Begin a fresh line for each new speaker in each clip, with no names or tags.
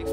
üks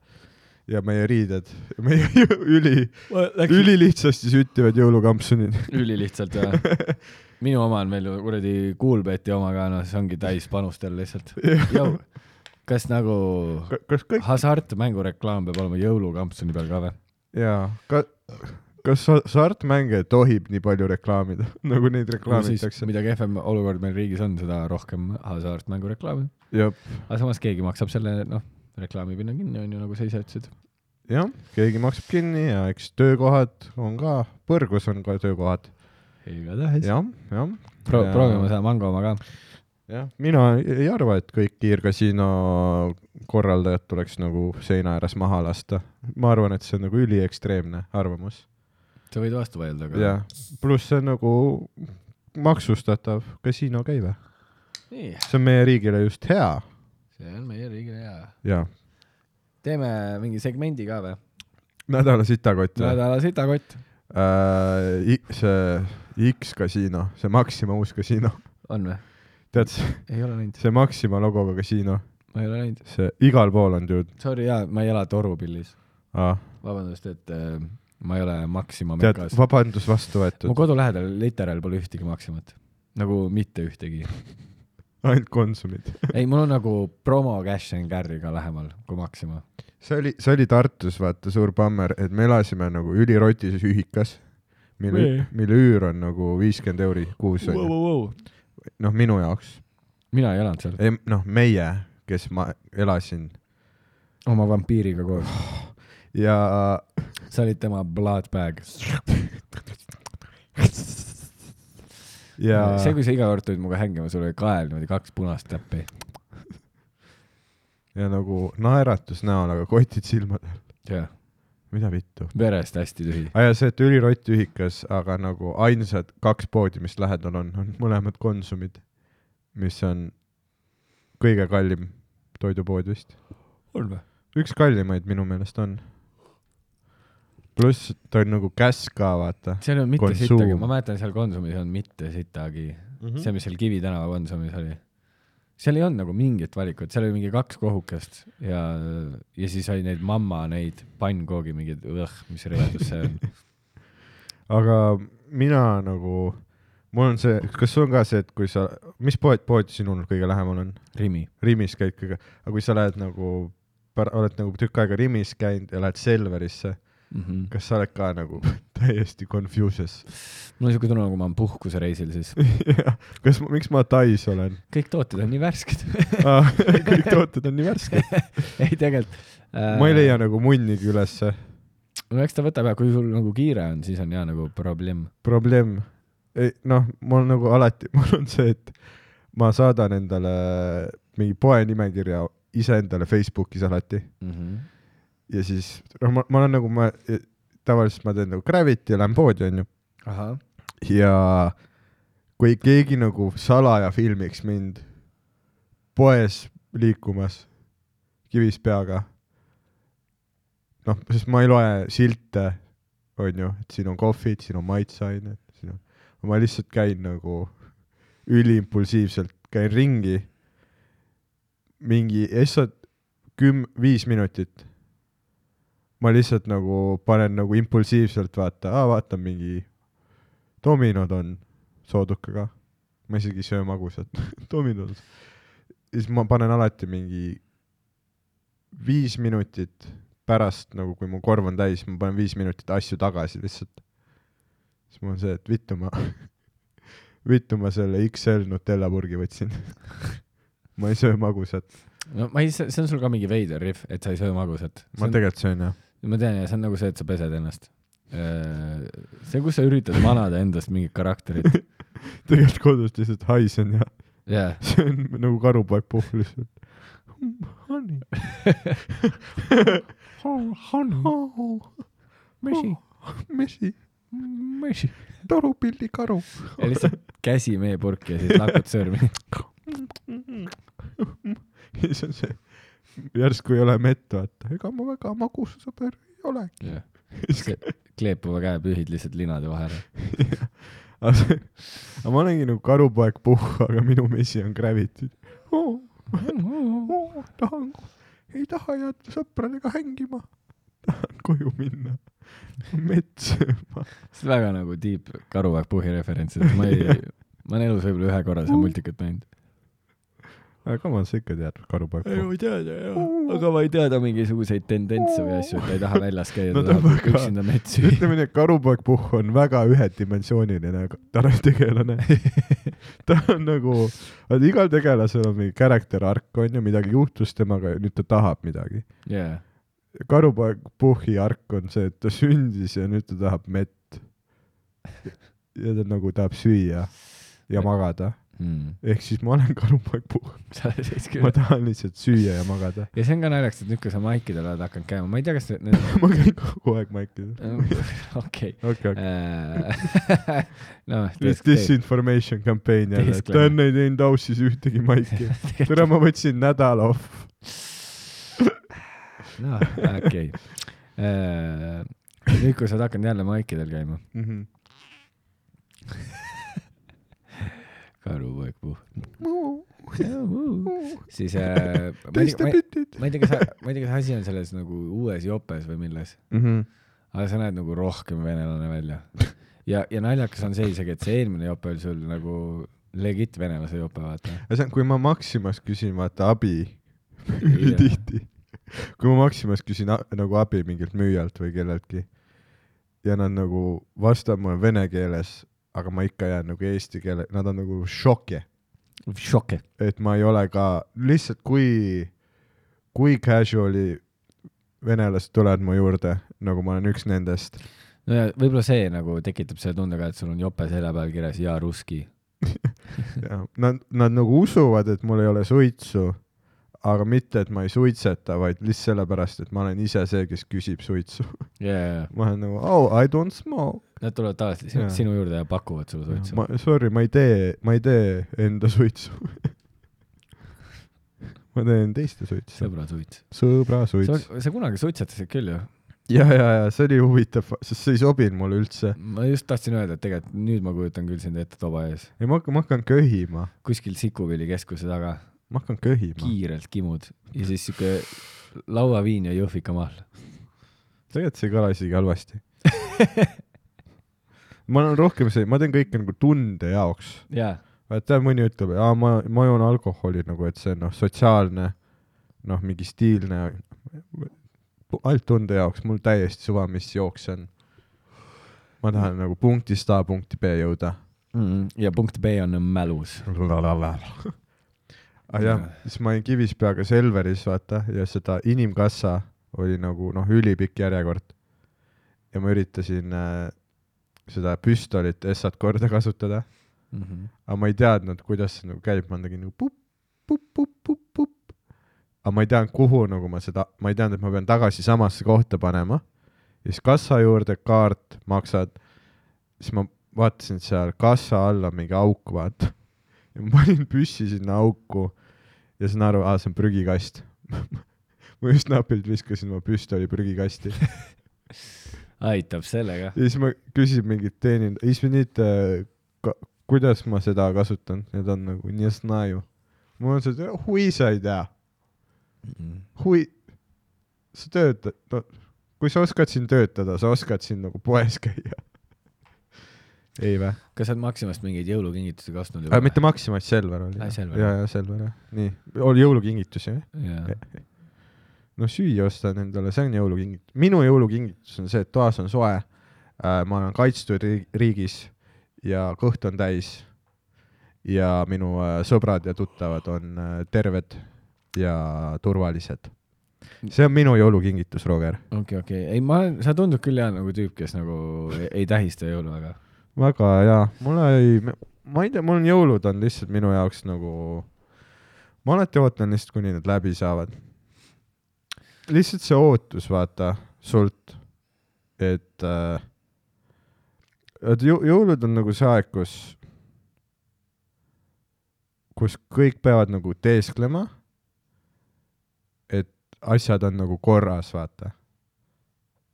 ja meie riided , meie üli , ülilihtsasti süttivad jõulukampsunid .
ülilihtsalt jah . minu oma on meil ju kuradi Kuulbeti oma ka , noh , see ongi täis panustel lihtsalt . kas nagu
kas kõik
hasartmängureklaam peab olema jõulukampsuni peal ka või ?
jaa , ka- , kas sa- hasartmänge tohib nii palju reklaamida , nagu neid reklaamitakse ?
mida kehvem olukord meil riigis on , seda rohkem hasartmängureklaami .
jah ,
aga samas keegi maksab selle , noh , reklaamipinna kinni , on ju , nagu sa ise ütlesid .
jah , keegi maksab kinni ja eks töökohad on ka , põrgus on ka töökohad .
igatahes .
jah , jah .
Pro- ,
Ja-
proovime seda mango oma ka .
jah , mina ei arva , et kõik kiirkasiino korraldajad tuleks nagu seina ääres maha lasta . ma arvan , et see on nagu üliekstreemne arvamus .
sa võid vastu vaielda , aga .
jah , pluss see on nagu maksustatav kasiinokäive .
nii ,
see on meie riigile just hea
see on meie riigile hea .
ja
teeme mingi segmendi ka või ?
nädala sitakott .
nädala sitakott
Äh, I- see X-kasiino , see Maxima uus kasiino ,
on või ?
tead see,
ei ole näinud ,
see Maxima logoga kasiino ,
ma ei ole näinud .
see igal pool on ju
Sorry jaa , ma ei ela torupillis .
ah, ,
vabandust , et äh, ma ei ole Maxima
tead
mekas .
vabandus vastu
mu
võetud ,
kodu lähedal literaal pole ühtegi Maximat . nagu mitte ühtegi .
ainult Konsumid .
ei , mul on nagu promo cash and carry ka lähemal kui Maxima .
see oli , see oli Tartus vaata suur bammer , et me elasime nagu ülirotises ühikas , mille
Nii. ,
mille üür on nagu viiskümmend euri kuus onju , noh minu jaoks ,
mina ei elanud seal
noh meie , kes ma elasin
oma vampiiriga koos .
ja
sa olid tema blood bag .
ja
see , kui sa iga kord tulid minuga hängima , sul oli kael niimoodi kaks punast täppi .
ja nagu naeratus näol , aga kotid silmadel ,
jah ,
mida vittu .
verest hästi tühi .
aa jaa , see , et ülirott ühikas , aga nagu ainsad kaks poodi , mis lähedal on , on mõlemad Konsumid , mis on kõige kallim toidupood vist .
on või ?
üks kallimaid minu meelest on . pluss ta on nagu käsk ka , vaata .
seal ei olnud mitte
Konsum.
sittagi , ma mäletan , seal Konsumis ei olnud mitte sittagi mm . -hmm.
Mhm.
see , mis seal Kivi tänava Konsumis oli . seal ei olnud nagu mingit valikut , seal oli mingi kaks kohukest ja , ja siis oli neid mamma neid pannkoogi mingeid , mis reedus see on .
aga mina nagu , mul on see , kas sul on ka see , et kui sa , mis pood , pood sinul kõige lähemal on ?
Rimi .
Rimis käid kõige , aga kui sa lähed nagu , oled nagu tükk aega Rimis käinud ja lähed Selverisse ,
Mm -hmm.
kas sa oled ka nagu täiesti confuses ?
mul on siuke tunne , nagu ma olen puhkusereisil siis .
Jah. kas , miks ma Tais olen ?
kõik tooted on nii värsked .
kõik tooted on nii värsked .
ei , tegelikult äh,
ma ei leia nagu munnigi ülesse .
no eks ta võtab ja kui sul nagu kiire on , siis on ja nagu probleem .
probleem , noh , mul nagu alati , mul on see , et ma saadan endale mingi poe nimekirja iseendale Facebookis alati
Mm
Mhm.
-hmm.
ja siis , noh , ma , ma olen nagu , ma tavaliselt ma teen nagu Gravity ja lähen poodi , onju ,
ahah ,
ja kui keegi nagu salaja filmiks mind poes liikumas kivis peaga , noh , sest ma ei loe silte , onju , et siin on kohvid , siin on maitseained , siin on , ma lihtsalt käin nagu üliimpulsiivselt , käin ringi mingi essad küm- , viis minutit . ma lihtsalt nagu panen nagu impulsiivselt vaata , aa vaata mingi dominod on soodukaga , ma isegi ei söö magusat dominod . ja siis ma panen alati mingi viis minutit pärast nagu , kui mu korv on täis , ma panen viis minutit asju tagasi lihtsalt . siis mul on see , et vittu ma , vittu ma selle XL Nutella purgi võtsin . ma ei söö magusat ,
no ma ei , see on sul ka mingi veider rihv , et sa ei söö magusat .
ma tegelikult söön jah .
ma tean ja see on nagu see , et sa pesed ennast . see , kus sa üritad manada endast mingit karakterit .
tegelikult kodus lihtsalt haisen ja
jaa ,
söön nagu karupoeg puhku lihtsalt . Honey . Honey .
Mesi. .
mesi . mesi . torupilli karu .
ja lihtsalt käsi meepurki ja siis lakad sõrmi .
ja siis on see , järsku ei ole mett , vaata , ega ma väga magusasõber ei olegi .
kleepuva käe pühid lihtsalt linade vahele .
aga see , aga ma olengi nagu karupoeg puhku , aga minu mesi on Gravity oh, . Oh, tahan , ei taha jääda sõpradega hängima . tahan koju minna , mets sööma .
see on väga nagu deep karuväeg puhi referents , et ma ei , ma olen elus võib-olla ühe korra seda multikat näinud .
aga kamal sa ikka tead karupoeg
ei ,
puhku ?
ma ei tea ta jah , aga ma ei tea ta mingisuguseid tendentse või asju , et ta ei taha väljas käia ,
No
ta
ta
tahab
väga-
üksinda metsi süüa .
ütleme nii , et karupoeg puhku on väga ühedimensiooniline tänane tegelane . ta on nagu , vaata igal tegelasel on mingi character arc onju , midagi juhtus temaga ja nüüd ta tahab midagi .
jaa ,
karupoeg Puhhi ark on see , et ta sündis ja nüüd ta tahab mett . ja ta nagu tahab süüa ja magada ,
mm. .
ehk siis ma olen karupoeg Puhh ,
sa oled siis küll
ma . tahan lihtsalt süüa ja magada .
ja see on ka naljakas , et nüüd , kui sa maikidel oled hakanud käima , ma ei tea , kas need ,
ma käin kogu aeg maikidel .
okei .
okei , okei .
noh ,
This disinformation campaign jälle , et
Disclaimer.
Õnn ei teinud ausis ühtegi maiki . tere , ma võtsin nädal off .
noh , okei . nüüd , kui sa oled hakanud jälle maikidel käima . karupoeg puh .
Mhm.
siis äh, ma ei
teiste
tea ,
pitid .
ma ei tea , kas , ma ei tea , kas asi on selles nagu uues jopes või milles ,
Mhm.
aga sa näed nagu rohkem venelane välja . ja , ja naljakas on see isegi , et see eelmine jope oli sul nagu legit venelase jope , vaata .
aga see on , kui ma Maximas küsin vaata abi ülitihti , kui ma Maximas küsin a- nagu abi mingilt müüjalt või kelleltki ja nad nagu vastavad mulle vene keeles , aga ma ikka jään nagu eesti keele , nad on nagu šoki ,
šoke .
et ma ei ole ka lihtsalt kui , kui casual'i venelased tulevad mu juurde , nagu ma olen üks nendest ,
no ja võib-olla see nagu tekitab selle tunde ka , et sul on jope selja peal kirjas ja ruski .
nad , nad nagu usuvad , et mul ei ole suitsu , aga mitte , et ma ei suitseta , vaid lihtsalt sellepärast , et ma olen ise see , kes küsib suitsu .
ja , ja , ja
ma olen nagu oh I don't smoke .
nad tulevad tavaliselt
Jaa.
sinu, sinu juurde ja pakuvad sulle suitsu .
ma sorry , ma ei tee , ma ei tee enda suitsu . ma teen teiste suitsu ,
sõbra suits .
sõbra
sa ,
suits .
sa kunagi suitsetasid küll ju ?
ja , ja , ja see oli huvitav , sest see ei sobinud mulle üldse
ma just tahtsin öelda , et tegelikult nüüd ma kujutan küll sind ette toba ees ,
ja ma hakkan , ma hakkan köhima ,
kuskil Sikuvili keskuse taga ,
ma hakkan köhima .
kiirelt kimud ja siis siuke lauaviin ja jõhvika mahl .
tegelikult see ei kõla isegi halvasti . ma olen rohkem see , ma teen kõike nagu tunde jaoks
jaa ,
vaata mõni ütleb , aa ma , ma joon alkoholi nagu , et see on noh , sotsiaalne , noh , mingi stiilne , ainult tunde jaoks , mul täiesti suva , mis jooks see on . ma tahan nagu punktist A punkti B jõuda . Mm-hmm.
ja punkt B on mälus .
aga Ah, jah , siis ma olin Kivispeaga Selveris , vaata , ja seda inimkassa oli nagu noh , ülipikk järjekord . ja ma üritasin äh, seda püstolit Essat korda kasutada aga ma ei teadnud , kuidas see nagu käib , ma tegin nagu pup , pup , pup , pup , pup . aga ma ei teadnud , kuhu nagu ma seda , ma ei teadnud , et ma pean tagasi samasse kohta panema . ja siis kassa juurde kaart , maksad . siis ma vaatasin , et seal kassa all on mingi auk , vaata . ja ma panin püssi sinna auku ja sain aru , aa , see on prügikast . ma just napilt viskasin oma püstoli prügikasti
aitab sellega .
ja siis ma küsin mingit teenin- , isminite , äh, kuidas ma seda kasutan , need on nagu nii snaju . mul on see , hui sa ei tea , hui , sa töötad , no kui sa oskad siin töötada , sa oskad siin nagu poes käia . ei vä ?
kas sa oled Maximast mingeid jõulukingitusi ka ostnud
aga mitte Maximas , Selver oli
Ai, . Selver.
ja , ja Selver jah , nii , oli jõulukingitus jah ?
jaa ,
no süüa ostan endale , see on jõulukingitus . minu jõulukingitus on see , et toas on soe , ma olen kaitstud riig- riigis ja kõht on täis . ja minu äh, sõbrad ja tuttavad on äh, terved ja turvalised . see on minu jõulukingitus , Roger .
okei , okei , ei ma , sa tundud küll jah nagu tüüp , kes nagu ei- ei tähista jõulu , aga
väga hea , mulle ei , ma ei tea , mul on jõulud on lihtsalt minu jaoks nagu , ma alati ootan lihtsalt , kuni nad läbi saavad . lihtsalt see ootus , vaata , sult , et äh, , et jõ- jõulud on nagu see aeg , kus , kus kõik peavad nagu teesklema , et asjad on nagu korras , vaata .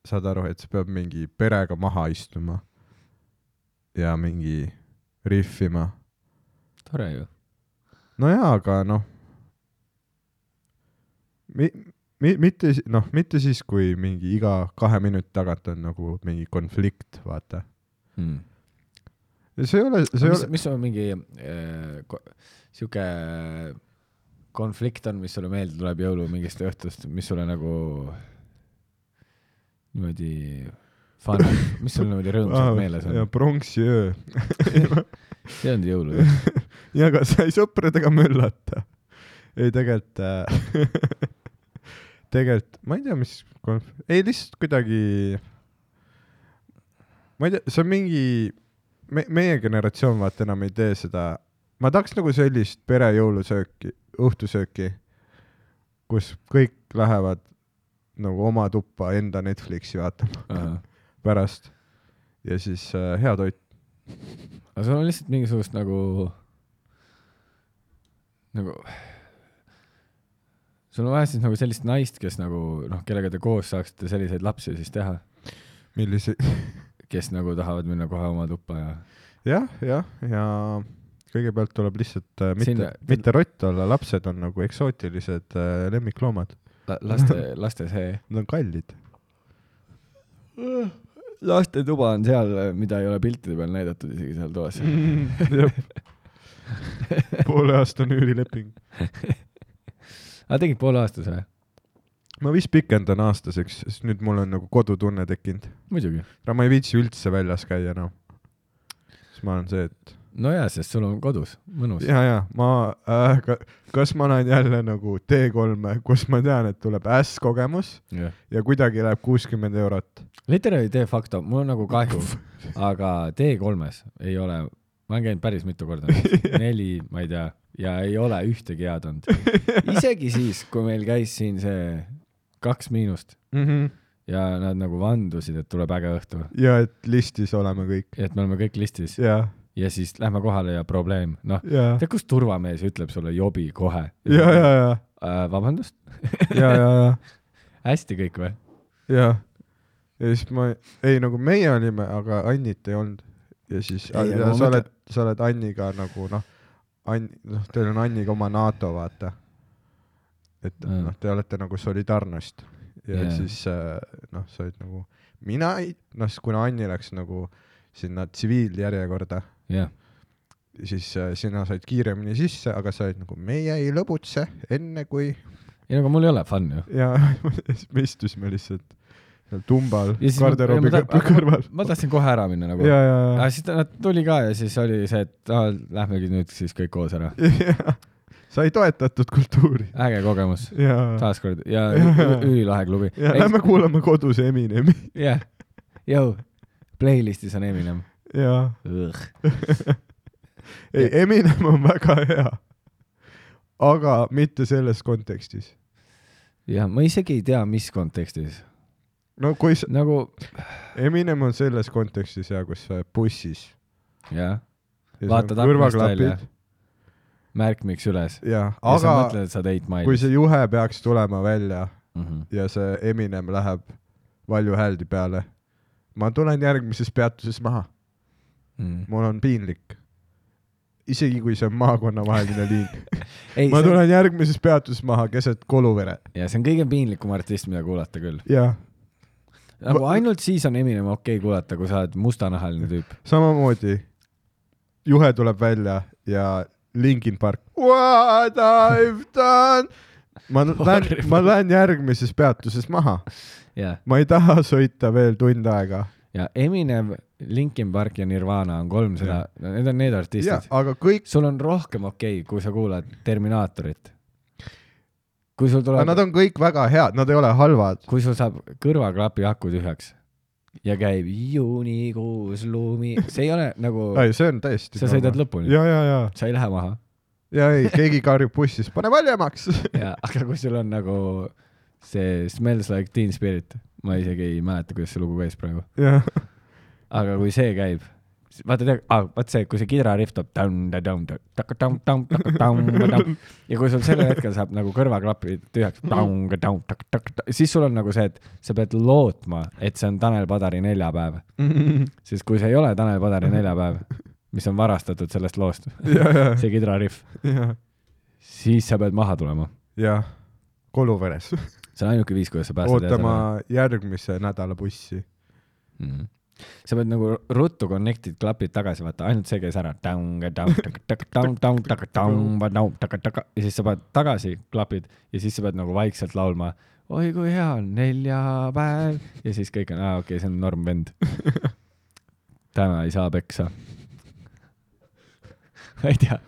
saad aru , et sa pead mingi perega maha istuma ja mingi rihvima .
tore ju .
no jaa , aga noh , mi- , mi- , mitte , noh , mitte siis , kui mingi iga kahe minuti tagant on nagu mingi konflikt , vaata . Mm. see ei ole , see ei
mis ,
ole ,
mis on mingi äh, ko- sihuke konflikt on , mis sulle meelde tuleb jõulu mingist õhtust , mis sulle nagu niimoodi fun , mis sul niimoodi rõõmsalt meeles on
Ah, ja ? pronksiöö .
see on jõulud .
ja aga sa ei sõpradega möllata . ei tegelikult äh, , tegelikult ma ei tea , mis konf- , ei lihtsalt kuidagi , ma ei tea , see on mingi , me , meie generatsioon vaata enam ei tee seda , ma tahaks nagu sellist perejõulusööki , õhtusööki , kus kõik lähevad nagu oma tuppa enda Netflixi vaatama
aga
pärast ja siis äh, hea toit .
sul on lihtsalt mingisugust nagu , nagu , sul on vaja siis nagu sellist naist , kes nagu noh , kellega te koos saaksite selliseid lapsi siis teha ,
millise ,
kes nagu tahavad minna kohe oma tuppa ja
jah , jah , ja kõigepealt tuleb lihtsalt äh, mitte
Sinna- ,
mitte rott olla , lapsed on nagu eksootilised äh, lemmikloomad ,
la- laste , laste see .
nad on kallid .
lastetuba on seal , mida ei ole piltide peal näidatud isegi seal toas .
Mm. pooleaastane üürileping .
aga tegid pooleaastase või ?
ma vist pikendan aastaseks , sest nüüd mul on nagu kodutunne tekkinud ,
muidugi .
aga ma ei viitsi üldse väljas käia enam . siis ma olen see , et
nojah , sest sul on kodus mõnus .
ja , ja ma äh, , ka, kas ma olen jälle nagu T3-e , kus ma tean , et tuleb ässkogemus ja kuidagi läheb kuuskümmend eurot .
Literally de facto , mul on nagu kahju , aga T3-s ei ole , ma olen käinud päris mitu korda , neli , ma ei tea , ja ei ole ühtegi head olnud . isegi siis , kui meil käis siin see kaks miinust
Mm -hmm.
ja nad nagu vandusid , et tuleb äge õhtu ,
ja et listis oleme kõik .
et me oleme kõik listis
ja ,
ja siis lähme kohale ja probleem , noh ,
ja ,
tead , kus turvamees ütleb sulle jobi kohe ?
ja , ja , ja ,
äh, . vabandust ,
ja , ja , ja
hästi kõik või ?
ja , ja siis ma , ei nagu meie olime , aga Annit ei olnud . ja siis ,
Ei,
ja,
aga
ja
ma
sa
mõtlen-
oled , sa oled Anniga nagu noh , Ann- , noh , teil on Anniga oma NATO , vaata . et
Mm.
noh , te olete nagu solidarnost ja
Jaa.
yeah. siis äh, noh , sa olid nagu , mina ei , noh , kuna Anni läks nagu sinna tsiviiljärjekorda ,
jah ,
siis äh, sina said kiiremini sisse , aga sa olid nagu , meie ei lõbutse enne kui
ei no aga mul ei ole fun ju .
ja siis me istusime lihtsalt seal tumbal
Ja siis ma-
garderoobi
ei, ma
kõr-
tahan-
kõrval .
ma tahtsin kohe ära minna nagu
ja , ja ,
aga
ja,
siis ta , nad tuli ka ja siis oli see , et ah, lähmegi nüüd siis kõik koos ära .
ja. . sai toetatud kultuuri .
äge kogemus ,
ja , ja,
taaskord ja
Jaa, jaa.
ü- ülilahe klubi .
ja lähme kuulame kodus Eminemi
jah , jõu , playlist'is on Eminem .
ja ei , Eminem on väga hea . aga mitte selles kontekstis .
ja ma isegi ei tea , mis kontekstis ,
no kui sa ,
nagu
Eminem on selles kontekstis hea , kus sa oled bussis .
jah , Vaatad aknast välja. märkmiks üles .
ja ,
ja sa
aga
mõtled , et sa teid
kui
mainid .
see juhe peaks tulema välja
Mhm.
ja see Eminem läheb Valju Hääldi peale . ma tulen järgmises peatuses maha ,
Mhm.
mul on piinlik . isegi kui see on maakonnavaheline liin .
ei ,
ma
see on ,
tulen järgmises peatuses maha keset Koluvere
ja see on kõige piinlikum artist , mida kuulata küll .
ja
nagu
Ma-
ainult siis on Eminem okei okay kuulata , kui sa oled mustanahaline tüüp .
samamoodi juhe tuleb välja ja Linkin Park . What I've done . ma lähen , ma lähen järgmises peatuses maha ,
jah ,
ma ei taha sõita veel tund aega
ja Eminem , Linkin Park ja Nirvana on kolm seda , need on need
ja
artistid ,
aga kõik ,
sul on rohkem okei okay, , kui sa kuulad Terminaatorit . kui sul
nad
tuleb ,
on kõik väga head , nad ei ole halvad .
kui sul saab kõrvaklapi aku tühjaks ja käib juunikuus lumi , see ei ole nagu ,
ei , see on täiesti .
sa sõidad lõpuni ,
ja , ja , ja ,
sa ei lähe maha
ja ei , keegi karjub bussis , pane valjemaks .
ja , aga kui sul on nagu see Smells like teen spirit , ma isegi ei mäleta , kuidas see lugu käis praegu ,
jah ,
aga kui see käib , vaata tead ah, , vaat see , kui see kidrariff tuleb tamm-tamm-tamm , tamm-tamm-tamm-tamm ja kui sul sellel hetkel saab nagu kõrvaklapi tühjaks , siis sul on nagu see , et sa pead lootma , et see on Tanel Padari neljapäev , sest kui see ei ole Tanel Padari neljapäev , mis on varastatud sellest loost ,
ja , ja ,
see kidrariff ,
ja ,
siis sa pead maha tulema .
ja Koluveres
see on ainuke viis , kuidas sa pääsed .
ootama järgmise nädala bussi .
mm. . sa pead nagu ruttu connect'id klapid tagasi , vaata ainult see käis ära . ja siis sa paned tagasi klapid ja siis sa pead nagu vaikselt laulma . oi kui hea on neljapäev ja siis kõik on , aa okei okay, , see on norm vend . täna ei saa peksa . ma ei tea ,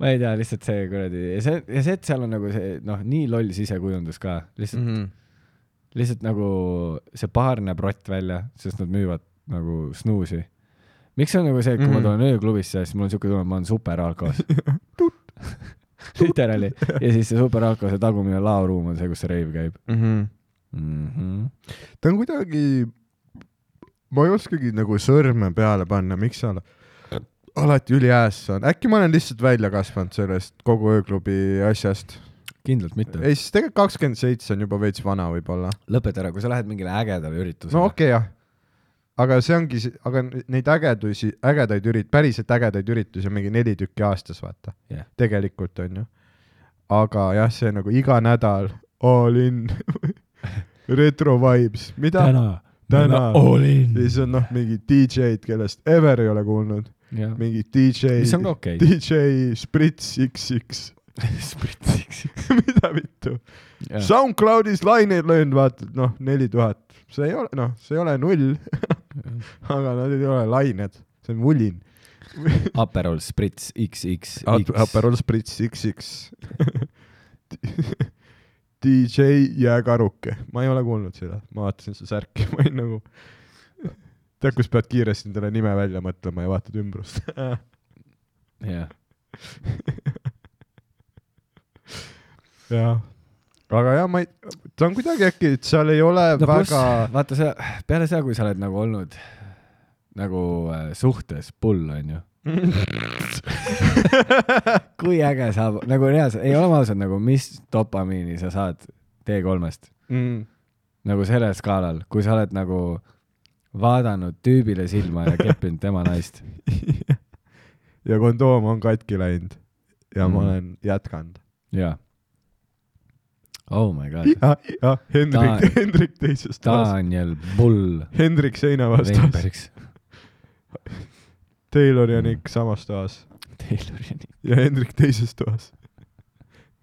ma ei tea , lihtsalt see kuradi ja see ja see , et seal on nagu see noh , nii loll sisekujundus ka , lihtsalt mm ,
-hmm.
-hmm. lihtsalt nagu see paar näeb rott välja , sest nad müüvad nagu snuusi . miks see on nagu see , et kui mm -hmm.
Mhm.
ma tulen ööklubisse , siis mul on siuke tunne , et ma olen superalkos . literaali ja siis see superalkose tagumine laoruum on see , kus see reiv käib
Mm -hmm.
mm . -hmm.
ta on kuidagi , ma ei oskagi nagu sõrme peale panna , miks sa ole- alati üliääs on , äkki ma olen lihtsalt välja kasvanud sellest kogu ööklubi asjast .
kindlalt mitte .
ei , siis tegelikult kakskümmend seitse on juba veits vana võib-olla .
lõpeta ära , kui sa lähed mingile ägedale üritusele
no okei okay, , jah . aga see ongi , aga neid ägedusi , ägedaid ürit- , päriselt ägedaid üritusi on mingi neli tükki aastas , vaata .
Jah.
tegelikult on ju . aga jah , see nagu iga nädal all in retro vibes , mida
täna ,
Täna.
all in .
siis on noh , mingid DJ-d , kellest ever ei ole kuulnud , mingid DJ ,
mis on ka okei okay. .
DJ Sprits XX ,
spritsiks .
mida vittu . SoundCloudis laineid löönud , vaata , noh , neli tuhat , see ei ole , noh , see ei ole null , aga nad ei ole lained , see on vulin .
Aperol sprits XX .
Aperol Sprits XX . DJ Jääkaruke , ma ei ole kuulnud seda , ma vaatasin seda särki , ma olin nagu , tead , kus pead kiiresti endale nime välja mõtlema ja vaatad ümbrust .
jah ,
jah , aga jah , ma ei , ta on kuidagi äkki , et seal ei ole
no
no,
pluss
väga ,
vaata see , peale seda , kui sa oled nagu olnud nagu äh, suhtes pull , onju . kui äge saab , nagu reaalselt , ei oleme ausad , nagu mis dopamiini sa saad T3-st
mm,
nagu sellel skaalal , kui sa oled nagu vaadanud tüübile silma ja keppinud tema naist .
ja kondoom on katki läinud ja mm.
Mhm.
ma olen jätkanud .
jaa . Oh my god .
ja , ja Hendrik
Ta- ,
Hendrik teisest otsast ,
Daniel Bull .
Hendrik seina vastas , Taylor ja Nick samas toas
Taylor ja nii .
ja Hendrik teises toas .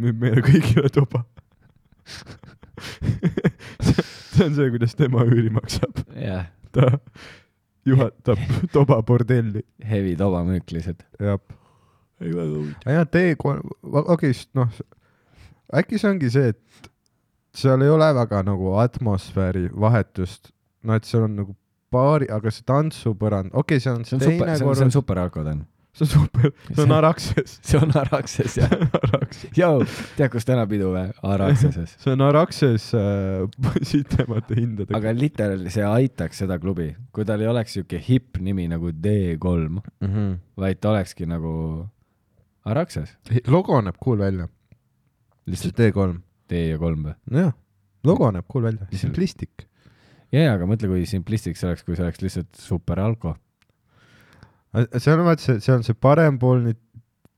müüb meile kõigile tuba . see on see , kuidas tema üüri maksab .
jah ,
ta juhatab toba bordelli .
heavy tobamüük lihtsalt .
jah .
ei väga huvitav .
ja T3 , okei , noh , äkki see ongi see , et seal ei ole väga nagu atmosfääri vahetust , no et seal on nagu paari , aga see tantsupõrand , okei okay, , see on
see on super ,
teine
see on , see on
korrus ,
superalko ta on .
see on super , see on Araxes ,
see on Araxes jah . Jou , tead , kus täna pidu või ? Araxeses .
see on Araxes äh, sitemate hindadega .
aga literaalselt see aitaks seda klubi , kui tal ei oleks siuke hipp nimi nagu D3 ,
mm . -hmm.
vaid ta olekski nagu Araxes .
logo näeb cool välja .
lihtsalt
T3 .
D ja kolm või ?
nojah , logo näeb cool välja ,
Lihtsalt-
simplistik .
jaa , aga mõtle , kui simplistlik see oleks , kui see oleks lihtsalt superalko .
see on vaata see , see on see parempoolne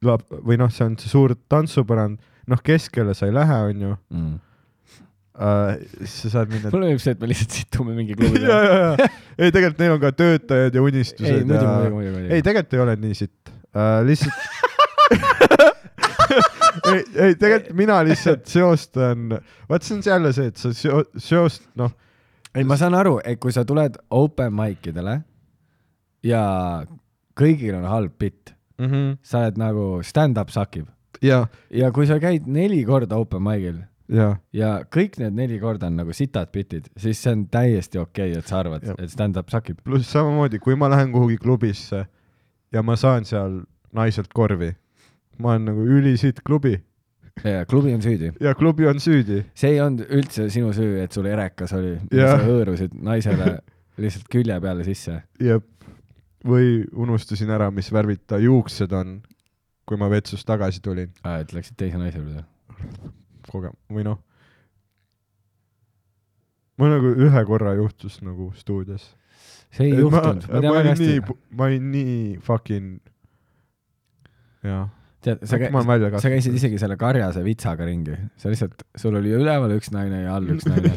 lab- või noh , see on see suur tantsupõrand , noh , keskele sa ei lähe , onju
mm. .
uh, . sa saad minna .
mulle meeldib see , et me lihtsalt situme mingi
ja ,
klubi
ja , ja , ei tegelikult neil on ka töötajad ja unistused
ei , muidugi ,
ja
muidugi ,. muidugi ,
ei ,
muidugi .
tegelikult ei ole nii sitt uh, , lihtsalt ei , ei tegelikult mina lihtsalt seostan , vaat see on jälle see , et sa seo- , seost- , noh ,
ei , ma saan aru , et kui sa tuled open mic idele ja kõigil on halb bitt ,
mm -hmm.
sa oled nagu stand-up sakib
ja ,
ja kui sa käid neli korda open mic'il
ja
ja kõik need neli korda on nagu sitad bitid , siis see on täiesti okei okay, , et sa arvad
Jah. ,
et stand-up sakib .
pluss samamoodi , kui ma lähen kuhugi klubisse ja ma saan seal naiselt korvi , ma olen nagu ülisitt klubi
klubi on süüdi .
ja klubi on süüdi .
see ei olnud üldse sinu süü , et sul erekas oli ,
Jah.
sa hõõrusid naisele lihtsalt külje peale sisse .
ja , või unustasin ära , mis värvid ta juuksed on , kui ma vetsust tagasi tulin ,
et läksid teise naise juurde ?
koge- , või noh . mul nagu ühe korra juhtus nagu stuudios .
see ei juhtunud , ma tean väga hästi .
ma olin nii fucking , jah ,
tead , sa
äkki ma
käid
olen , välja
sa käisid . isegi selle karjase vitsaga ringi , sa lihtsalt , sul oli üleval üks naine ja all üks naine .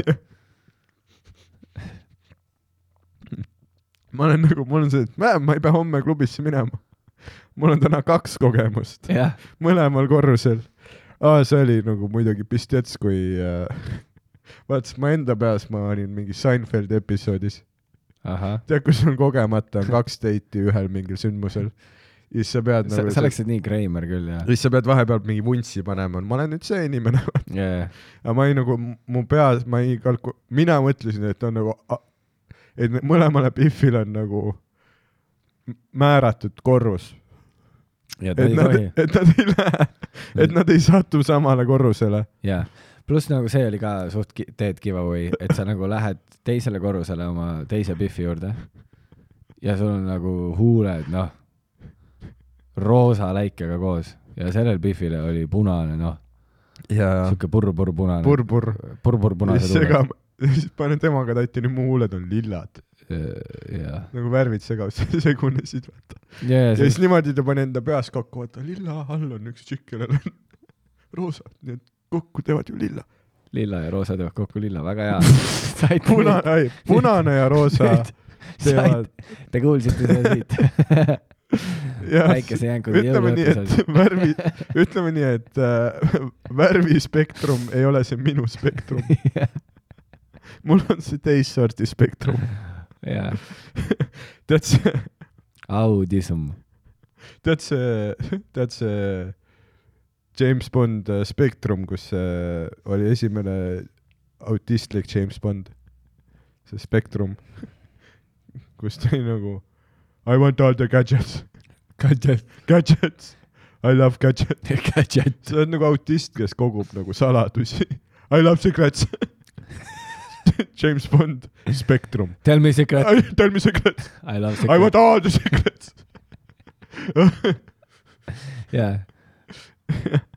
ma olen nagu , mul on see , et näe , ma ei pea homme klubisse minema . mul on täna kaks kogemust
jah ,
mõlemal korrusel . aa , see oli nagu muidugi pistets , kui äh, vaat siis ma enda peas , ma olin mingi Seinfeldi episoodis ,
ahah ,
tead , kus on kogemata on kaks date'i ühel mingil sündmusel ja siis sa pead
sa
nagu ,
sa läksid nii Kreimer küll
ja
jah
siis sa pead vahepeal mingi vuntsi panema , ma olen nüüd see inimene ,
yeah. .
aga ma ei nagu , mu peas , ma ei kalku- , mina mõtlesin , et on nagu , et ne- mõlemale Biffil on nagu m- määratud korrus ,
ja ta
et
ei
nad
tohi ,,
et nad ei lähe , et nad ei satu samale korrusele .
jaa . pluss nagu see oli ka suht ki- dead giveaway , et sa nagu lähed teisele korrusele oma teise Biffi juurde ja sul on nagu huuled , noh , roosa läikega koos ja sellel Biffil oli punane , noh ,
ja
sihuke purpurpunane Pur .
purbur ,
purpurpunased huuled .
segab , siis panen temaga tatti , nüüd mu huuled on lillad ,
jaa .
nagu värvid segasid , segunesid .
ja ,
ja
ja
siis
siis ,
niimoodi ta pani enda peas kokku , vaata lilla all on üks tšikk , kellel on roosad , need kokku teevad ju lilla .
lilla ja roosa teevad kokku lilla , väga hea . said
punane , ei , punane ja roosa
Nüüd
teevad
said ,, te kuulsite seda siit
jah ,
väikese jänkude
ütleme nii ,
jõuluõhtus
et värvi , ütleme nii , et äh, värvispektrum ei ole see minu spektrum .
oli .
mul on see teist sorti spektrum .
jaa ,
tead see ,
audism .
tead see , tead see James Bond äh, spektrum , kus äh, oli esimene autistlik James Bond , see spektrum , kus ta oli nagu I want all the gadgets ,
gadget .
gadgets , I love gadgets .
gadget .
sa oled nagu autist , kes kogub nagu saladusi . I love secrets . James Bond , spektrum .
Tell me secret .
Tell me secrets .
I love
I want
secret .
all the secrets .
jaa .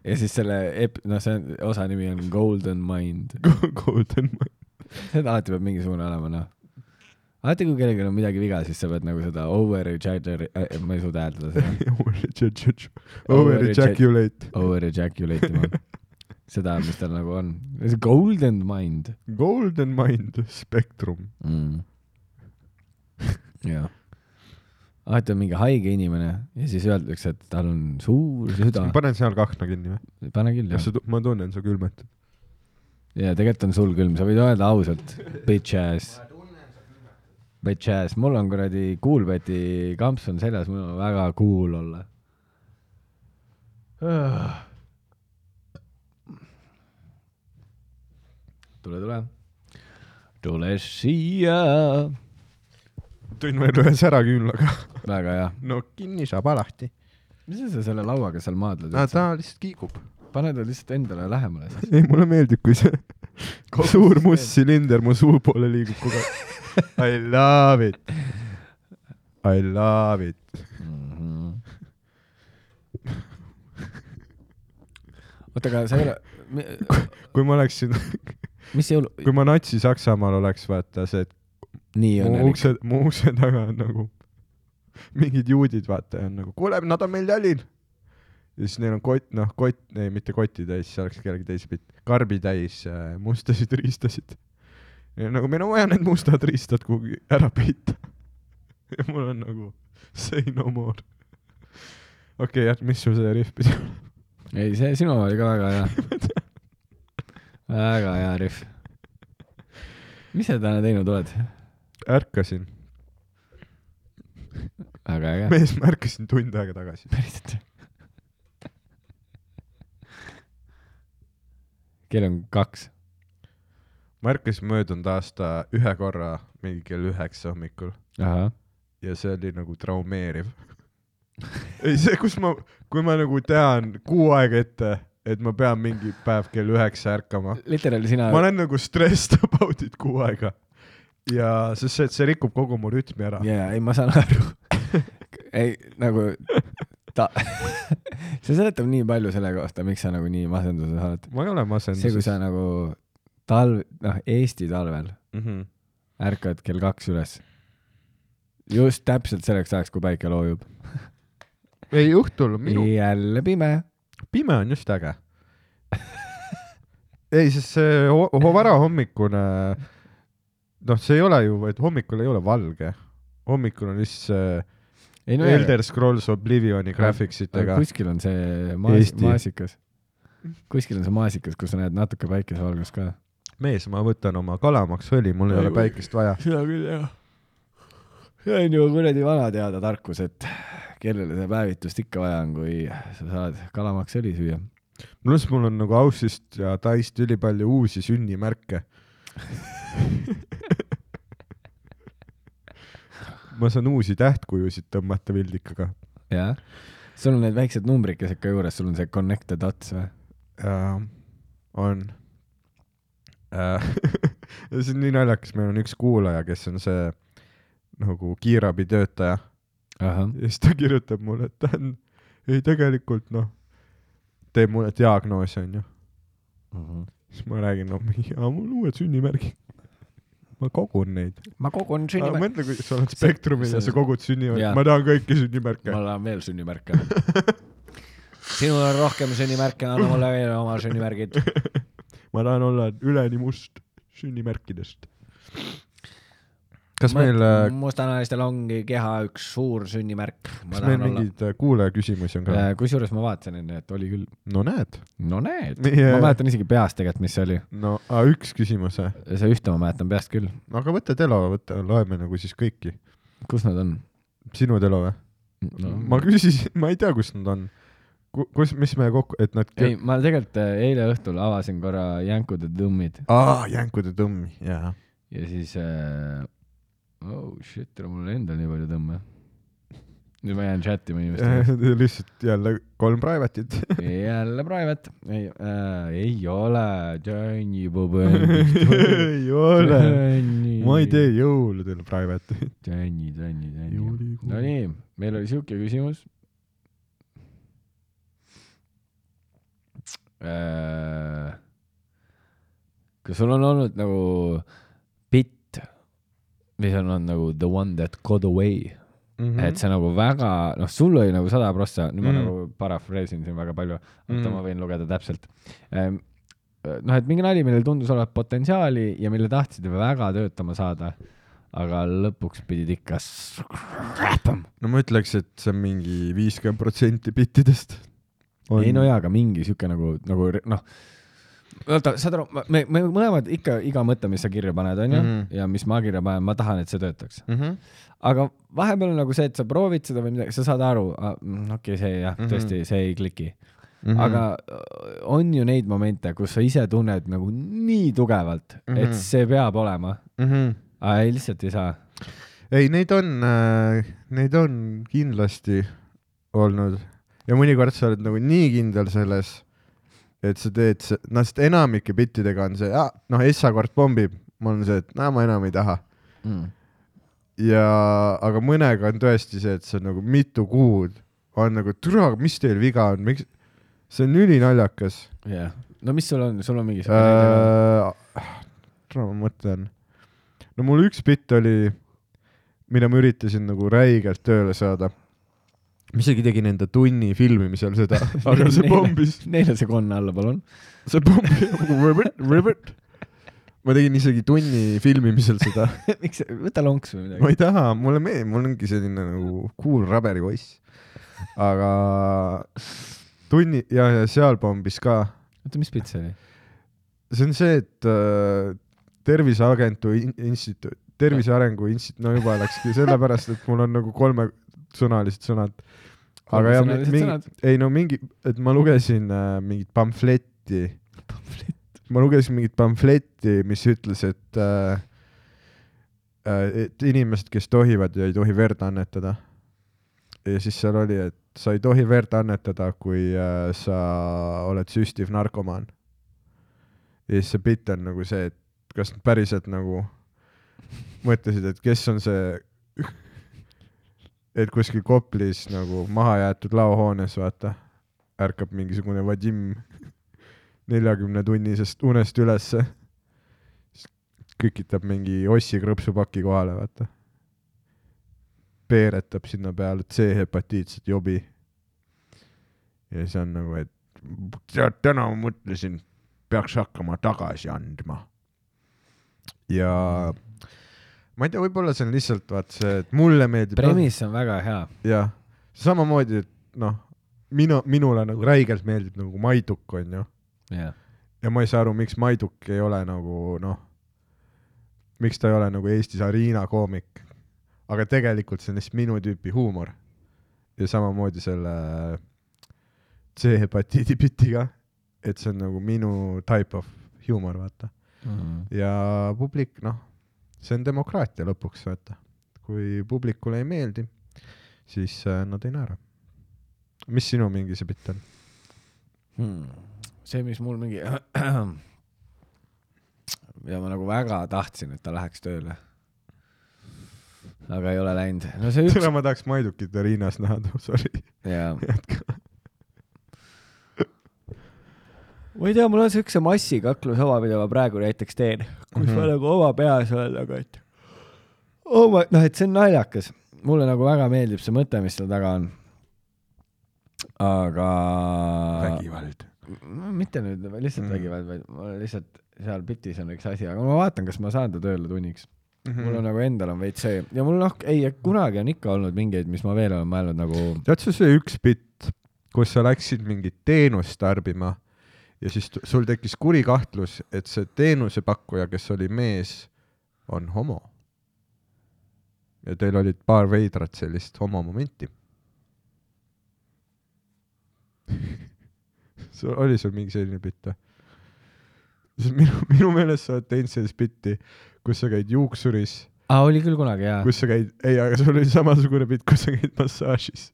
ja siis selle ep- , noh , see on- osa nimi on Golden Mind .
Golden Mind .
seda alati peab mingisugune olema , noh . alati , kui kellelgi on midagi viga , siis sa pead nagu seda over ejaculate äh, , ma ei suuda hääldada seda ,
Over ejaculate .
over ejaculate ima . seda , mis tal nagu on . Golden Mind
Golden Mind , spektrum .
mm. . jah . alati on mingi haige inimene ja siis öeldakse , et tal on suur süda .
panen seal kakna kinni või ?
pane küll ,
jah ,
jah .
ma tunnen su külmet .
ja tegelikult on sul külm , sa võid öelda ausalt , bitch ass . Bitch ass , mul on kuradi Coolbeti kamps on seljas , mul on väga cool olla . tule , tule . tule siia .
tõin veel ühe säraküünlaga .
väga hea .
no kinni saab alati .
mis sa selle lauaga seal maadled üldse ?
ta lihtsalt kiigub .
pane ta lihtsalt endale lähemale siis .
ei , mulle meeldib , kui see suur must silinder mu suu poole liigub kogu aeg . I love it . I love it .
oota , aga sa ei ole ,
kui ma oleksin ,
mis jõulu ,
kui ma Natsi-Saksamaal oleks , vaata see , et
nii
mu
õnnelik .
ukse , mu ukse taga on nagu mingid juudid , vaata , on nagu , kuule , nad on meil Tallinn . ja siis neil on kott , noh , kott , ei , mitte koti täis , see oleks kellegi teise pilt , karbi täis äh, mustasid riistasid . nagu meil on vaja need mustad riistad kuhugi ära peita . ja mul on nagu say no more . okei okay, , jah , mis sul see rihv pidi olema ?
ei , see sinu oli ka väga hea . väga hea rihv . mis sa täna teinud oled ?
ärkasin ,
väga äge .
mees , ma ärkasin tund aega tagasi .
päriselt . kell on kaks .
ma ärkasin möödunud aasta ühe korra mingi kell üheksa hommikul .
ahah .
ja see oli nagu traumeeriv . ei , see , kus ma , kui ma nagu tean kuu aega ette , et ma pean mingi päev kell üheksa ärkama ,
literaal sina
ma . olen nagu stressed about it kuu aega . ja sest see , see rikub kogu mu rütmi ära yeah. .
jaa , ei ma saan aru . ei , nagu ta , see seletab nii palju selle kohta , miks sa nagu nii masenduses oled .
ma ei ole
see , kui
masenduses
sa . nagu talv , noh , Eesti talvel
Mm -hmm.
ärkad kell kaks üles . just täpselt selleks ajaks , kui päike loojub .
ei , õhtul on minu yeah. ,
jälle pime .
pime on just äge . ei , sest see ho- ho- varahommikune , noh , see ei ole ju , vaid hommikul ei ole valge . hommikul on lihtsalt see
ei no
Elder Scrolls Oblivioni
aga
graphicsitega .
kuskil on see maas,
Eesti.
maasikas . kuskil on see maasikas , kus sa näed natuke päikesevalgust ka .
mees , ma võtan oma kalamaksõli , mul ei ole päikest vaja .
seda küll jah . see on ju kuradi vana teada tarkus , et kellele seda päevitust ikka vaja on , kui sa saad kalamakseõli süüa .
pluss mul on nagu Aussist ja Taist ülipalju uusi sünnimärke . ma saan uusi tähtkujusid tõmmata vildikaga .
jah ? sul on need väiksed numbrikesed ka juures , sul on see connected dots või ?
on . see on nii naljakas , meil on üks kuulaja , kes on see nagu kiirabitöötaja
ahah ,
ja siis ta kirjutab mulle , et ta on , ei tegelikult noh , teeb mulle diagnoosi onju .
Mhm.
siis ma räägin , no mingi , aa mul on uued sünnimärgid . ma kogun neid .
ma kogun sünnimärke .
mõtle , kui sa oled spektrumil ja
see-
sa kogud sünnimärke
jaa. ,
ma tahan kõiki
ma
sünnimärke .
tahan veel sünnimärke . sinul on rohkem sünnimärke , anna mulle veel oma sünnimärgid .
ma tahan olla üleni must sünnimärkidest . kas
Ma-
meil , äh,
mustanahalistel ongi keha üks suur sünnimärk .
kas meil mingeid äh, kuulajaküsimusi on ka ?
Äh, kusjuures ma vaatasin enne , et oli küll .
no näed .
no näed
Meie-
ma mäletan isegi peast tegelikult , mis see oli .
no aa, üks küsimus ,
see ühte ma mäletan peast küll .
aga võta Telo , võta , loeme nagu siis kõiki .
kus nad on
sinu Telo või ?
no.
ma küsisin , ma ei tea , kus nad on . kus , mis me kokku , et nad .
ei , ma tegelikult äh, eile õhtul avasin korra Jänkude tõmmid
aa , jänkude tõmmi , jaa .
ja siis äh, , oh shit , mul oli endal nii palju tõmme . nüüd ma jään chat ima inimestega .
lihtsalt jälle kolm private'it .
jälle private , ei äh, , ei ole , Johnny Bobendik .
ei ole , ma ei tee . jõuludel private'it .
Johnny , Johnny , Johnny .
Jõulikuu.
Nonii , meil oli siuke küsimus . kas Äh, sul on olnud nagu bitt , mis on olnud nagu the one that got away mm , -hmm. et see nagu väga , noh , sul oli nagu sada prossa , nüüd mm
Mhm.
-hmm. ma nagu parafreesin siin väga palju , oota
Mhm.
mm. , ma võin lugeda täpselt ehm, . noh , et mingi nali , millel tundus olevat potentsiaali ja mille tahtsid väga töötama saada , aga lõpuks pidid ikka s- räpama .
no ma ütleks , et see on mingi viiskümmend protsenti bittidest .
ei no jaa , aga mingi sihuke nagu , nagu re- noh , oota , saad aru , me , me mõlemad ikka iga mõte , mis sa kirja paned , onju mm ,
Mhm.
-hmm. ja mis ma kirja panen , ma tahan , et see töötaks .
mm . -hmm.
aga vahepeal on nagu see , et sa proovid seda või midagi , sa saad aru , okei , see jah mm ,
Mhm.
-hmm. tõesti , see ei kliki mm . -hmm. aga äh, on ju neid momente , kus sa ise tunned nagu nii tugevalt mm , -hmm.
Mhm.
et see peab olema ,
mm . -hmm.
aga ei lihtsalt ei saa .
ei , neid on äh, , neid on kindlasti olnud ja mõnikord sa oled nagu nii kindel selles , et sa teed , noh , sest enamike bittidega on see , noh , Essa kord pommib , mul on see , et no ma enam ei taha
Mm.
ja , aga mõnega on tõesti see , et see on nagu mitu kuud on nagu , türa , mis teil viga on , miks , see on ülinaljakas
Yeah. no mis sul on , sul on mingi siuke
äh, . täna ma mõtlen . no mul üks bitt oli , mida ma üritasin nagu räigelt tööle saada . ma isegi tegin enda tunni filmimisel seda , aga see pommis ,
neile sekund alla , palun .
see pommis nagu ribbit , ribbit . ma tegin isegi tunni filmimisel seda .
miks , võta lonks või
ma
midagi .
ei taha , mulle meeldib , mul ongi selline nagu cool raberi poiss . aga tunni ja , ja seal pommis ka
oota , mis pits see oli ?
see on see , et äh, terviseagentu in- instituut , Tervise Arengu Instituut , no juba läkski sellepärast , et mul on nagu kolmesõnalised sõnad . aga jah ,
Kolmesõnalised
mingi
sõnad? ,
ei no mingi , et ma lugesin äh, mingit pamfletti , ma lugesin mingit pamfletti , mis ütles , et äh, äh, et inimesed , kes tohivad ja ei tohi verd annetada . ja siis seal oli , et sa ei tohi verd annetada , kui äh, sa oled süstiv narkomaan . ja siis see bitt on nagu see , et kas nad päriselt nagu mõtlesid , et kes on see , et kuskil Koplis nagu mahajäetud laohoones , vaata , ärkab mingisugune Vadim neljakümne tunnisest unest ülesse . kükitab mingi ossi krõpsupaki kohale , vaata . peeretab sinna peale C-hepatiitset jobi . ja siis on nagu , et tead , täna ma mõtlesin , peaks hakkama tagasi andma . ja ma ei tea , võib-olla see on lihtsalt vaat see , et mulle meeldib .
premiss on väga hea .
jah , samamoodi , et noh , minu , minule nagu räigelt meeldib nagu maiduk , onju .
jah ,
ja ma ei saa aru , miks Maiduk ei ole nagu noh , miks ta ei ole nagu Eestis areena koomik . aga tegelikult see on lihtsalt minu tüüpi huumor . ja samamoodi selle C-hepatiidi pütiga , et see on nagu minu type of humor , vaata . Mhm. ja publik , noh , see on demokraatia lõpuks , vaata . kui publikule ei meeldi , siis äh, nad ei naera . mis sinu mingi see pitt on ?
hmm. . see , mis mul mingi , mida ma nagu väga tahtsin , et ta läheks tööle . aga ei ole läinud . no see üks
täna ma tahaks Maidukit ja Riinas näha , sorry .
jaa . ma ei tea , mul on siukse massikaklusava , mida ma praegu näiteks teen , kus mm -hmm. ma
Mhm.
nagu oma peas olen nagu , et oh my , noh , et see on naljakas . mulle nagu väga meeldib see mõte , mis seal taga on . aga .
vägivald .
M- mitte nüüd lihtsalt
Mm.
mm. vägivald , vaid ma lihtsalt seal bitis on üks asi , aga ma vaatan , kas ma saan ta tööle tunniks mm . -hmm. mul on nagu endal on veits see ja mul noh , ei , kunagi on ikka olnud mingeid , mis ma veel olen mõelnud nagu
tead sa see üks bitt , kus sa läksid mingit teenust tarbima ja siis tu- sul tekkis kuri kahtlus , et see teenusepakkuja , kes oli mees , on homo . ja teil olid paar veidrat sellist homomomenti . sul oli sul mingi selline bitt või ? minu , minu meelest sa oled teinud sellist bitti , kus sa käid juuksuris
ah, , oli küll kunagi jaa Kus... .
kus sa käid , ei , aga sul oli samasugune bitt , kus sa käid massaažis .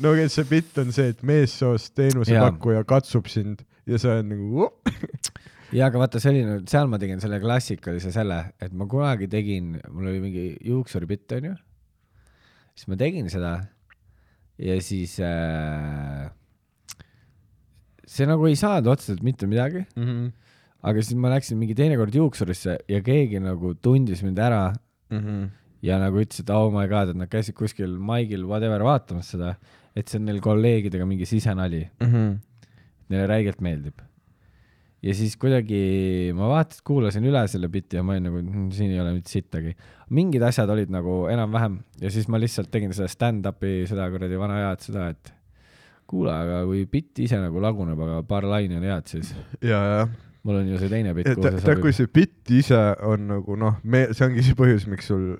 no okei , see bitt on see , et meessoost teenusepakkuja katsub sind ja sa oled nagu oh! ,
jaa , aga vaata selline , seal ma tegin selle klassikalise selle , et ma kunagi tegin , mul oli mingi juuksuripitt onju , siis ma tegin seda ja siis äh, see nagu ei saanud otseselt mitte midagi
mm . -hmm.
aga siis ma läksin mingi teinekord juuksurisse ja keegi nagu tundis mind ära
Mm -hmm.
ja nagu ütles , et oh my god , et nad käisid kuskil maigil whatever vaatamas seda , et see on neil kolleegidega mingi sisenali ,
Mm -hmm.
neile räigelt meeldib . ja siis kuidagi ma vaatasin , kuulasin üle selle biti ja ma olin nagu , siin ei ole mitte sittagi . mingid asjad olid nagu enam-vähem ja siis ma lihtsalt tegin seda stand-up'i , seda kuradi vana head seda , et kuule , aga kui bitt ise nagu laguneb , aga paar laine on head , siis
ja , ja ,
mul on ju see teine bitt ,
ja
kuhu
ta ,
see
ta , kui
sobib .
see bitt ise on nagu noh , me , see ongi see põhjus , miks sul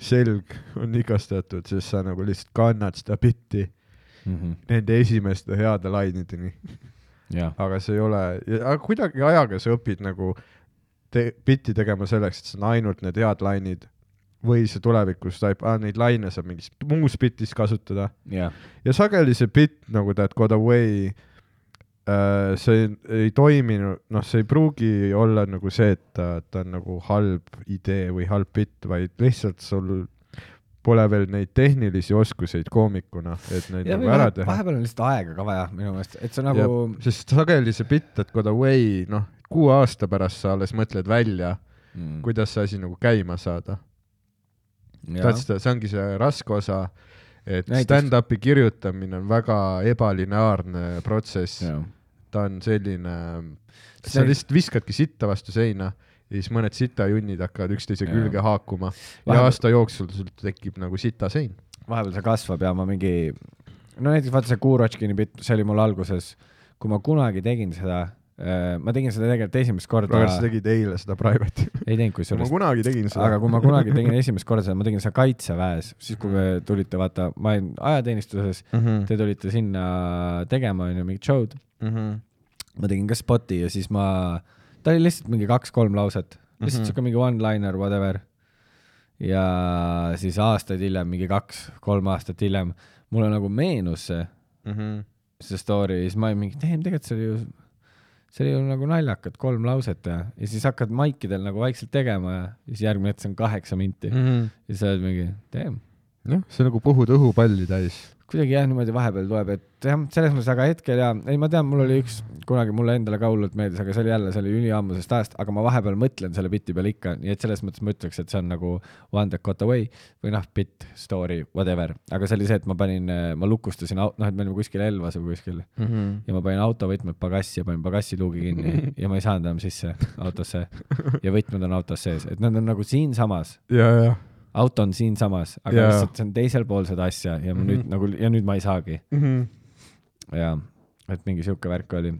selg on igastatud , sest sa nagu lihtsalt kannad seda bitti
Mhm.
nende esimeste heade lainideni .
jah .
aga see ei ole , aga kuidagi ajaga sa õpid nagu te, bitti tegema selleks , et see on ainult need head lainid või see tulevikus taip- ah, , neid laine saab mingis muus bitis kasutada
jah ,
ja sageli see bitt nagu that got away äh, see ei, ei toiminud , noh , see ei pruugi olla nagu see , et ta, ta on nagu halb idee või halb bitt , vaid lihtsalt sul pole veel neid tehnilisi oskuseid koomikuna , et neid
ja
nagu ära
vahepeal,
teha .
vahepeal on lihtsalt aega ka vaja minu meelest , et see nagu ,
sest sageli see bitt , et got away , noh , kuue aasta pärast sa alles mõtled välja ,
mm,
kuidas see asi nagu käima saada . tead seda , see ongi see raske osa , et
Näiteks-
stand-up'i kirjutamine on väga ebalineaarne protsess , ta on selline , sa
See-
lihtsalt viskadki sitta vastu seina ja siis mõned sitajunnid hakkavad üksteise
Jaa.
külge haakuma ja
Vahepeal-
aasta jooksul sul tekib nagu sitasein .
vahepeal see kasvab ja ma mingi , no näiteks vaata see Kurotškini bitt , see oli mul alguses , kui ma kunagi tegin seda , ma tegin seda tegelikult esimest korda
aga , sa tegid eile seda private'i .
ei teinud
ma
kusjuures ,
kunagi tegin seda .
aga kui ma kunagi tegin esimest korda seda , ma tegin seda kaitseväes , siis kui te tulite , vaata , ma olin ajateenistuses ,
Mhm,
te tulite sinna tegema , onju , mingit show'd ,
mhm,
ma tegin ka spoti ja siis ma , ta oli lihtsalt mingi kaks-kolm lauset , lihtsalt mm -hmm. siuke mingi one-liner , whatever . ja siis aastaid hiljem , mingi kaks-kolm aastat hiljem , mulle nagu meenus see ,
mhm.
see story ja siis ma olin mingi , ei tegelikult see oli ju , see oli ju nagu naljakas , kolm lauset ja , ja siis hakkad maikidel nagu vaikselt tegema ja siis järgmine hetk see on kaheksa minti mm.
-hmm.
ja siis sa oled mingi , damn
jah , see nagu puhud õhupalli täis .
kuidagi jah , niimoodi vahepeal tuleb , et jah , selles mõttes , aga hetkel ja ei , ma tean , mul oli üks kunagi mulle endale ka hullult meeldis , aga see oli jälle , see oli üliammusest ajast , aga ma vahepeal mõtlen selle biti peale ikka , nii et selles mõttes ma ütleks , et see on nagu One That Got Away või noh , bitt , story , whatever , aga see oli see , et ma panin , ma lukustasin , noh , et me olime kuskil Elvas või kuskil ja ma panin autovõtmed pagassi ja panin pagassiluugi kinni ja ma ei saanud enam sisse autosse ja võtmed on autos sees , et nad on nagu siinsamas
ja , ja ,
auto on siinsamas , aga
Jaa.
yeah. lihtsalt see on teisel pool seda asja ja ma mm -hmm. nüüd nagu ja nüüd ma ei saagi ja et mingi sihuke värk oli .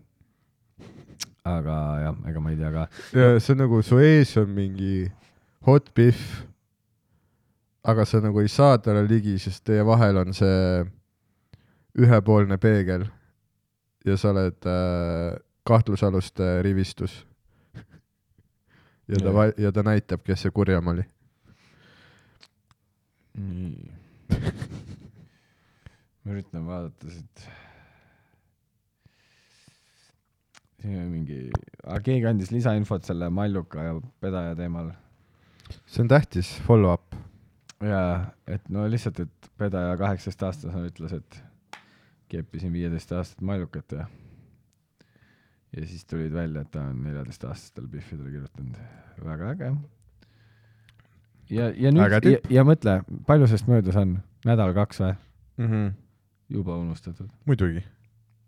aga jah , ega ma ei tea ka .
ja see on nagu su ees on mingi hot beef . aga sa nagu ei saa talle ligi , sest teie vahel on see ühepoolne peegel ja sa oled äh, kahtlusaluste rivistus . ja ta
Jah. ,
ja ta näitab , kes see kurjam oli .
nii . ma üritan vaadata siit . siin oli mingi , keegi andis lisainfot selle Malluka ja pedaja teemal
see on tähtis follow-up .
ja et no lihtsalt , et pedaja kaheksateistaastasena ütles , et keppisin viieteist aastat Mallukat ja ja siis tulid välja , et ta on neljateistaastastel Biffidele kirjutanud . väga äge . ja , ja
Äge
nüüd , ja,
tüüp.
ja mõtle , palju sellest möödas on , nädal-kaks või ?
mm . -hmm.
juba unustatud .
muidugi .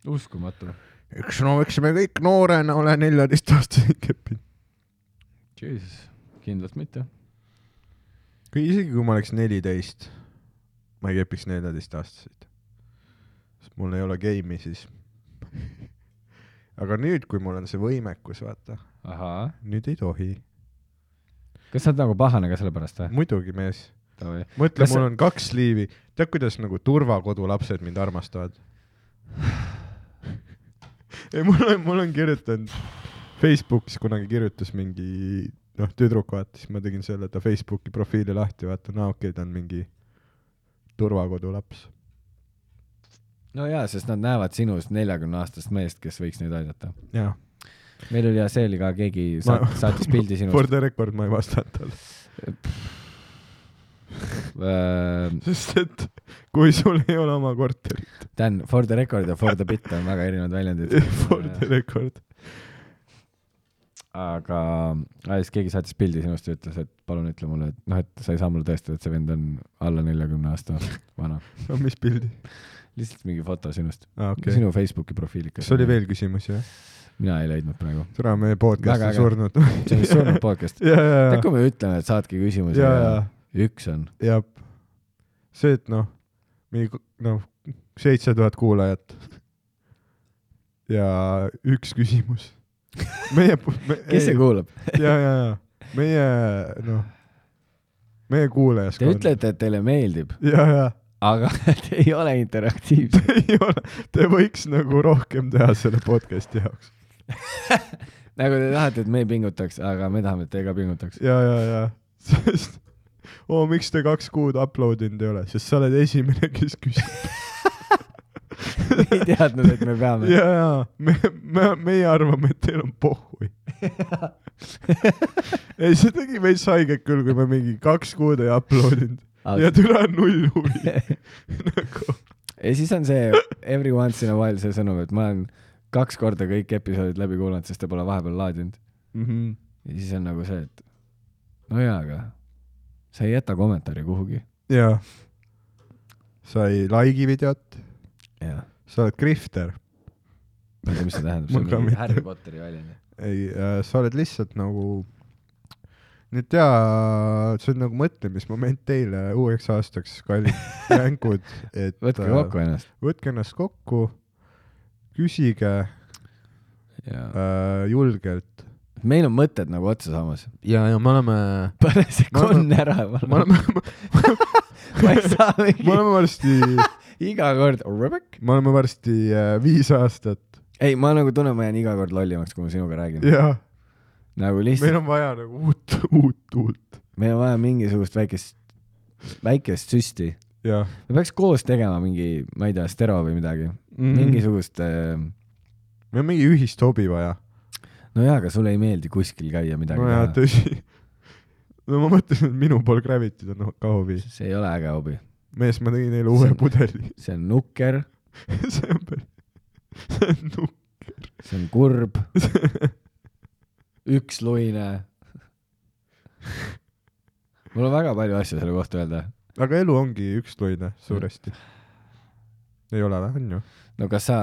uskumatu .
eks no , eks me kõik noorena ole neljateistaastaseid keppinud .
Jesus , kindlalt mitte .
kui isegi , kui ma oleks neliteist , ma ei kepiks neljateistaastaseid . sest mul ei ole game'i siis . aga nüüd , kui mul on see võimekus , vaata ,
ahhaa ,
nüüd ei tohi .
kas sa oled nagu pahane ka selle pärast või ?
muidugi , mees .
Davai .
mõtle ,
Kas
mul
sa-
on kaks liivi . tead , kuidas nagu turvakodu lapsed mind armastavad ? ei , mul on , mul on kirjutanud , Facebookis kunagi kirjutas mingi , noh , tüdruk vaatas , ma tegin selle ta Facebooki profiili lahti , vaatan , aa okei okay, , ta on mingi turvakodu laps .
no jaa , sest nad näevad sinus neljakümne aastast meest , kes võiks neid aidata .
jaa .
meil oli ja see oli ka keegi saat,
Ma-
saatis pildi
For
sinust .
the record ma ei vastanud talle ,
Äh,
sest et kui sul ei ole oma korterit ,
Dan , for the record ja for the bit on väga erinevad väljendid
for the . record .
Äh, aga , siis keegi saatis pildi sinust ja ütles , et palun ütle mulle , et noh , et sa ei saa mulle tõestada , et see vend on alla neljakümne aasta vana .
no mis pildi ?
lihtsalt mingi foto sinust okay. .
aa okei okay. .
sinu Facebooki profiilikas .
kas oli ? veel küsimusi , jah ?
mina ei leidnud praegu .
täna meie podcast
Väga
on
äge.
surnud .
see on vist surnud podcast .
ja , ja ,
tead , kui me ütleme , et saatke küsimusi
ja , ja ,,
üks on .
jah . see , et noh , mingi ku- noh , seitse tuhat kuulajat ja üks küsimus . meie me, ,
kes see kuulab ?
ja , ja , ja meie noh , meie
Te
kuulajaskond .
ütlete , et teile meeldib ,
ja , ja
aga te ei ole interaktiivsed .
ei ole , te võiks nagu rohkem teha selle podcast'i jaoks .
nagu te tahate , et me pingutaks , aga me tahame , et te ka pingutaks .
ja , ja , ja , sest oo , miks te kaks kuud upload inud ei ole , sest sa oled esimene , kes küsib .
ei teadnud , et me peame .
ja , ja me , me , meie arvame , et teil on pohhui . ei , see tegi meist haiget küll , kui me mingi kaks kuud ei upload inud ja türa on null huvi nagu, .
ja siis on see every once in a while see sõnum , et ma olen kaks korda kõik episoodid läbi kuulanud , sest te pole vahepeal laadinud .
Mm -hmm.
ja siis on nagu see , et no jaa , aga sa ei jäta kommentaari kuhugi .
ja sa ei like'i videot ,
jah ,
sa oled grifter ,
ma ei tea , mis see tähendab ,
Ma
see on
ka
mingi
mitte.
Harry Potteri väljend .
ei äh, , sa oled lihtsalt nagu , nüüd tea , see on nagu mõtlemismoment teile uueks aastaks , kallid jänkud , et äh,
võtke kokku ennast .
võtke ennast kokku , küsige
jaa ,
äh, julgelt .
meil on mõtted nagu otsa saamas .
ja , ja me oleme ,
pane see
Ma olen-
konn ära ,
me oleme ,
ma ei saa
me
mingi
oleme varsti ,
iga kord , Rebek .
me oleme varsti äh, viis aastat
ei , ma nagu tunnen , ma jään iga kord lollimaks , kui ma sinuga räägin .
ja
nagu
meil
lihtsalt ,
on vaja nagu uut , uut tuult
meil on vaja mingisugust väikest , väikest süsti .
ja
me peaks koos tegema mingi , ma ei tea , stero või midagi mm. ,
mm.
mingisugust äh,
meil on mingi ühist hobi vaja .
no jaa , aga sulle ei meeldi kuskil käia midagi
nojah ,
teha .
tõsi . no ma mõtlesin , et minu pool Gravity'd on ka hobi .
see ei ole äge hobi ,
mees , ma tegin neile uue
See on-
pudeli .
see on nukker ,
see on päris , see on nukk .
see on kurb , üksluine . mul on väga palju asju selle kohta öelda .
aga elu ongi üksluine suuresti . ei ole või , on ju ?
no kas sa ,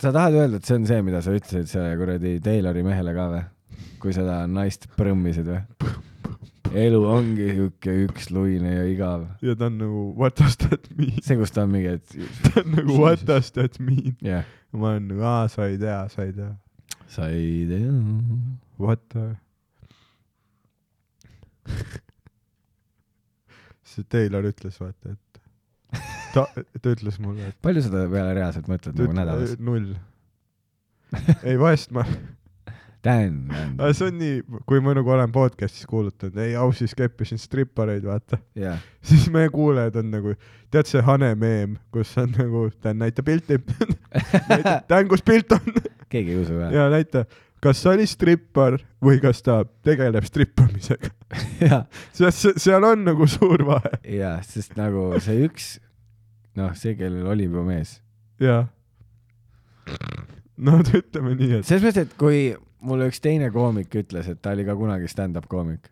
sa tahad öelda , et see on see , mida sa ütlesid selle kuradi Taylori mehele ka või ? kui seda naist põrmisid või ? elu ongi siuke üksluine ja igav .
ja ta on nagu what does that mean ?
see , kus ta on mingi , et
ta on nagu what does that mean ?
jah ,
ma olen nagu aa , sa ei tea , sa ei tea .
sa ei tea .
What the ? see Taylor ütles vaata , et ta , ta ütles mulle , et
palju sa ta peale reaalselt mõtled
ta
nagu nädalas ?
äh, null . ei , vahest ma ,
Dan ,
see on nii , kui ma nagu olen podcast'is kuulutanud , ei ausis keppisin strippareid , vaata ,
jah .
siis meie kuulajad on nagu , tead see Hane meem , kus on nagu , Dan näita pilti , Dan , kus pilt on
keegi ei usu või ?
ja näita , kas sa oli strippar või kas ta tegeleb strippamisega .
jah ,
sest seal on nagu suur vahe
ja sest nagu see üks , noh , see , kellel oli juba mees ,
ja no ütleme nii , et
selles mõttes , et kui mulle üks teine koomik ütles , et ta oli ka kunagi stand-up koomik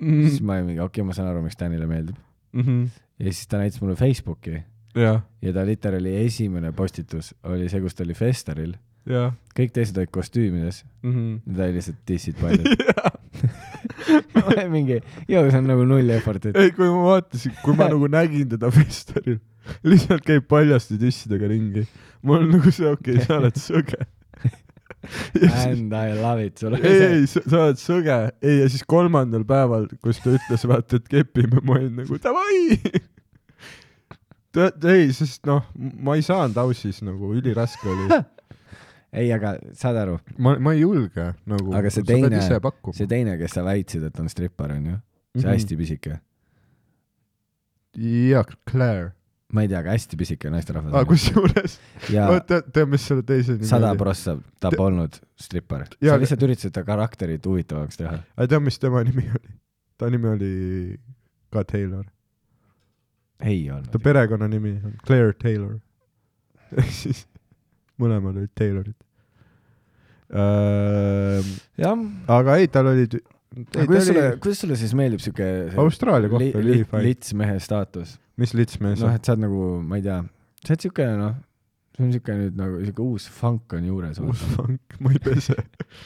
mm. , siis
mm
ma olin mingi , okei okay, , ma saan aru , miks Danile meeldib .
-hmm.
ja siis ta näitas mulle Facebooki
ja ,
ja ta literaali esimene postitus oli see , kus ta oli Festeril ,
ja
kõik teised olid kostüümides
mm . -hmm.
ja ta oli lihtsalt dissid paljalt . ma olin mingi , joo , see on nagu null effort'it .
ei , kui ma vaatasin , kui ma nagu nägin teda festivalil , lihtsalt käib paljaste tissidega ringi . mul on nagu see , okei okay, , sa oled sõge .
And I love it , sul
ei , ei , sa sa oled sõge , ei ja siis kolmandal päeval , kus ta ütles , vaata , et kepime , ma olin nagu davai . tead , ei , sest noh , ma ei saanud ausis nagu üliraske oli ,
ei , aga saad aru ,
ma , ma ei julge nagu .
Aga see teine-
sa pead ise pakkuma
see teine , kes sa väitsid , et on strippar , onju , see mm
Mhm.
-hmm. hästi . pisike ,
jaa , Claire .
ma ei tea , aga hästi pisike naisterahvas
aga kusjuures ,
ja
tead , tead , mis selle teise nimi
sada
oli ?
prossa ta
Te-
polnud strippar ,
Jaa,
sa
aga-
lihtsalt üritasid ta karakterit huvitavamaks teha .
aga tead , mis tema nimi oli ? ta nimi oli ka Taylor .
ei
ta
olnud .
perekonnanimi on Claire Taylor . ehk siis mõlemad olid Taylorid ähm, .
jah ,
aga ei , tal olid ,
aga
ei ta
kuidas sulle
oli ,
kuidas sulle siis meeldib siuke see
Austraalia
li-
kohta oli
li-
ülifain .
litsmehe staatus ?
mis litsmees
noh ,
on ?
et sa oled nagu , ma ei tea , sa oled siuke noh , see on siuke nüüd nagu siuke uus funk on juures .
uus funk , ma ei pese .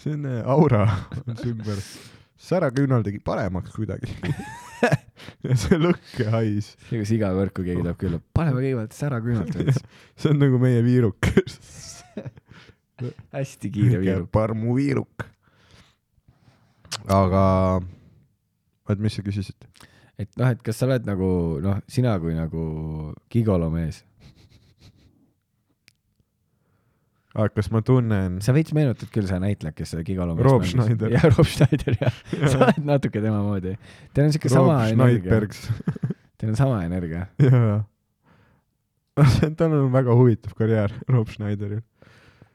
selline aura on su ümber . säraküünal tegi paremaks kuidagi . ja see lõhk ja hais ,
ega siga võrku
Oh.
keegi tuleb külla , paneme kõigepealt sära küünalt veits .
see on nagu meie viiruk .
hästi kiire viiruk .
parmu viiruk . aga , oot , mis sa küsisid ?
et noh , et kas sa oled nagu noh , sina kui nagu gigolo mees ,
ah, . kas ma tunnen ?
sa veits meenutad küll seda näitlejat , kes seda gigolo meest
Rob Schneider.
jah , Rob Schneider jah , sa oled natuke tema moodi . Teil on siuke sama energia ,
Schneidbergs .
teil on sama energia .
jaa . tal on väga huvitav karjäär , Rob Schneideril .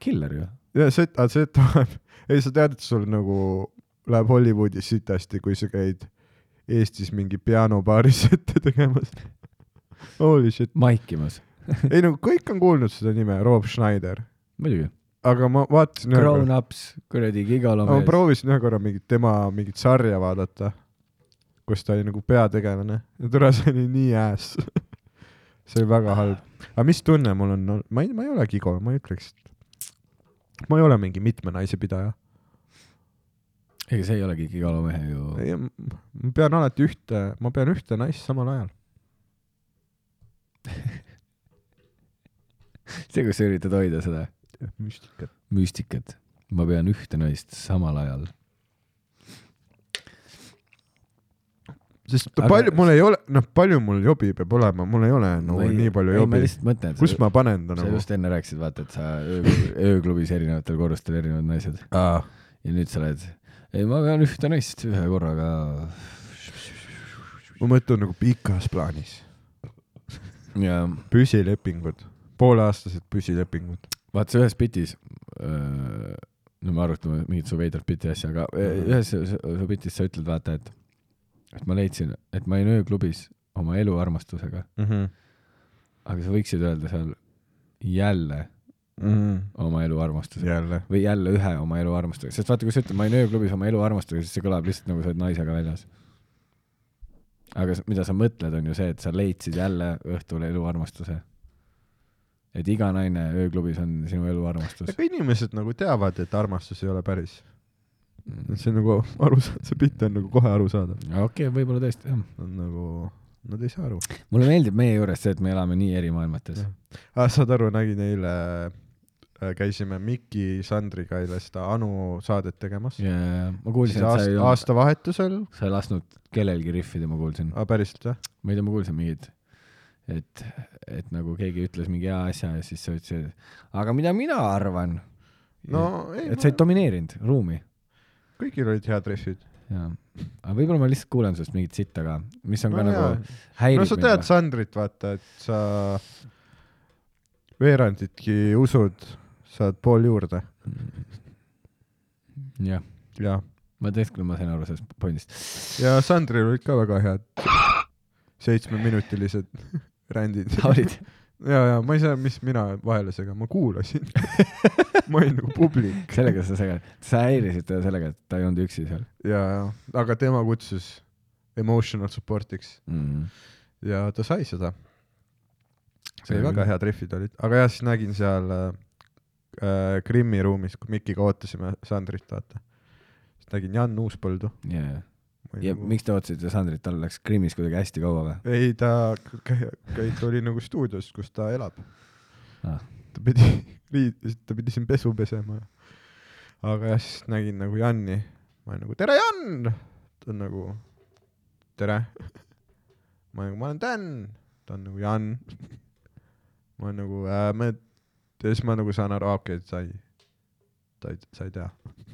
killer ju .
ja see , see tuleb , ei sa tead , et sul nagu läheb Hollywoodis sitasti , kui sa käid Eestis mingi pianobaaris ette tegemas . Holy shit ,
maikimas ,
ei no kõik on kuulnud seda nime , Rob Schneider ,
muidugi .
aga ma vaatasin ühe korra ,
Grown-ups , kuradi gigolo
ma
mees .
proovisin ühe korra mingit tema mingit sarja vaadata , kus ta oli nagu peategelane ja tore , see oli nii ass . see oli väga halb . aga mis tunne mul on , ma ei , ma ei ole gigo , ma ei ütleks , ma ei ole mingi mitme naise pidaja .
ega see ei olegi gigolo mehe ju
ei , ma pean alati ühte , ma pean ühte naist samal ajal .
see , kus sa üritad hoida seda
müstikat .
müstikat . ma pean ühte naist samal ajal .
sest
Aga-
Aga... palju mul ei ole , noh , palju mul jobi peab olema , mul ei ole nagu ei, nii palju
ma
jobi .
lihtsalt mõtlen , et
kus
sa,
ma panen ta
sa
nagu ?
just enne rääkisid , vaata , et sa öö- ööklubis erinevatel korrustel erinevad naised ja nüüd sa oled , ei , ma pean ühte naist ühe korraga .
ma mõtlen nagu pikas plaanis .
ja
püsilepingud , pooleaastased püsilepingud .
vaata , sa ühes bitis , äh, no me arutame mingit su veidrat biti asja , aga öö, ühes su- su bitis sa ütled , vaata , et , et ma leidsin , et ma olin ööklubis oma eluarmastusega ,
Mm -hmm.
aga sa võiksid öelda seal jälle
mm -hmm.
oma eluarmastusega .
jälle .
või jälle ühe oma elu armastusega , sest vaata , kui sa ütled , ma olin ööklubis oma elu armastusega , siis see kõlab lihtsalt nagu sa oled naisega väljas . aga s- mida sa mõtled , on ju see , et sa leidsid jälle õhtul elu armastuse . et iga naine ööklubis on sinu elu armastus .
aga inimesed nagu teavad , et armastus ei ole päris . see on nagu arusaadav , see pilt on nagu kohe arusaadav .
okei , võib-olla tõesti , jah .
on nagu , nad ei saa aru .
mulle meeldib meie juures see , et me elame nii eri maailmates .
ah, . saad aru , nägin eile , käisime Miki Sandriga eile seda Anu saadet tegemas .
ja , ja , ja ma
siis
kuulsin , et sa ei
aasta , Ah.
olnud ,
aastavahetusel
sa ei lasknud kellelgi riffida , ma kuulsin .
ah, , päriselt või ?
ma ei tea , ma kuulsin mingit , et , et nagu keegi ütles mingi hea asja ja siis sa ütlesid , aga mida mina arvan .
no ei
et , sa ei domineerinud ruumi
kõigil olid head dressid .
ja , aga võib-olla ma lihtsalt kuulen sinust mingit sitta ka , mis on
No
ka no,
jaa.
nagu häirib
no sa tead . Sandrit , vaata , et sa veeranditki usud , saad pool juurde
jah ,
ja ,
ma teist küll , ma sain aru sellest pointist .
ja Sandril olid ka väga head seitsmeminutilised rändid .
olid
ja , ja ma ei saa , mis mina vahele segan , ma kuulasin . ma olin nagu publik
sellega sa segad , sa häirisid teda sellega , et ta ei olnud üksi seal
ja , ja , aga tema kutsus emotional support'iks
mm. .
ja ta sai seda . see oli
Hea
väga
küll.
head rihvid olid , aga jah , siis nägin seal äh, äh, Krimmi ruumis , kui Mikiga ootasime Sandrit , vaata . siis nägin Jan Uuspõldu .
Yeah. ja nagu... . miks te ootasite Sandrit , tal läks Krimmis kuidagi hästi kaua või
ei , ta käi- käi- ta oli nagu stuudios , kus ta elab .
ah. ?
ta pidi riid- , ta pidi siin pesu pesema . aga jah , siis nägin nagu Janni , ma olin nagu tere , Jan . ta on nagu tere . ma olen nagu ma olen Dan , ta on nagu Jan . ma olen nagu äh, me , ja siis ma nagu saan aru , okei okay, , sa ei , ta ei , sa ei tea .